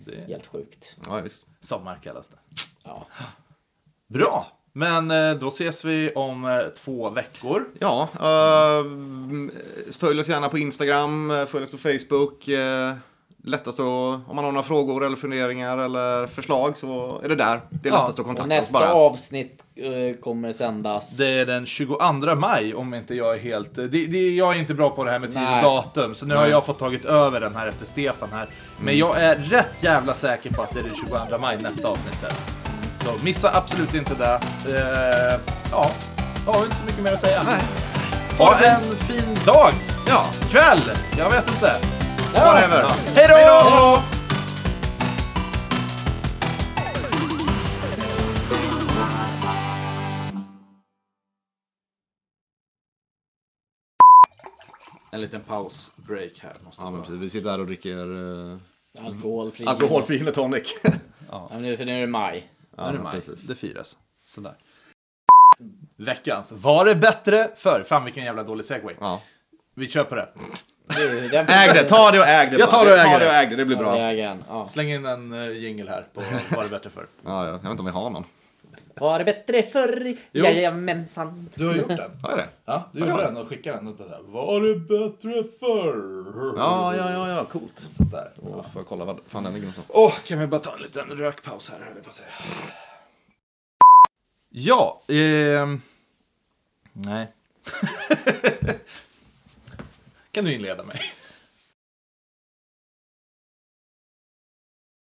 det är
helt sjukt.
Ja, visst.
sommar kallas det.
Ja.
Bra! Men eh, då ses vi om eh, två veckor.
Ja, eh, följ oss gärna på Instagram, eh, följ oss på Facebook. eh, lättast att, om man har några frågor eller funderingar eller förslag så är det där. Det är
Ja,
lättast att
Och
kontakta oss
nästa
bara.
avsnitt eh, kommer sändas.
Det är den 22 maj om inte jag är helt... eh, Det, det, jag är inte bra på det här med tid och
Nej. Mm.
datum, så nu har jag fått tagit över den här efter Stefan här. Men jag är rätt jävla säker på att det är den 22 maj nästa avsnitt sätts. Så missa absolut inte det. Eh, ja, jag har inte så mycket mer att säga. Ha en fin dag!
Ja,
Kväll! Jag vet inte.
whatever.
Hej då! En liten pausbreak här. Måste
Ja, men precis. Vi sitter här och dricker eh,
Alkoholfri.
alkoholfri gin och tonic.
Ja, men nu, för nu är det maj.
ja,
det
men
maj.
precis.
Det firas. Sådär. Veckans Var det bättre för Fan vilken jävla dålig segway.
Ja.
Vi kör på det.
Du, den-
<laughs> Äg det, ta det och äg det.
Jag
bara.
tar det och äger
Ta det
det.
och äg det, det blir
Ja,
bra.
det
Ja,
äger den. Ja.
Släng in en eh, jingle här på Var det bättre för
ja. Jag vet inte om vi har någon.
Var det bättre förr? Jajamensan.
Du har gjort den.
Har jag det?
Ja, du gjorde den och skickade den. Och det där. Var det bättre förr?
Ja, ja, ja, ja, coolt.
Där.
Då får jag kolla vad fan den ligger någonstans.
Åh, kan vi bara ta en liten rökpaus här, höll jag på att säga. Ja, ehm... Nej. <laughs> kan du inleda mig?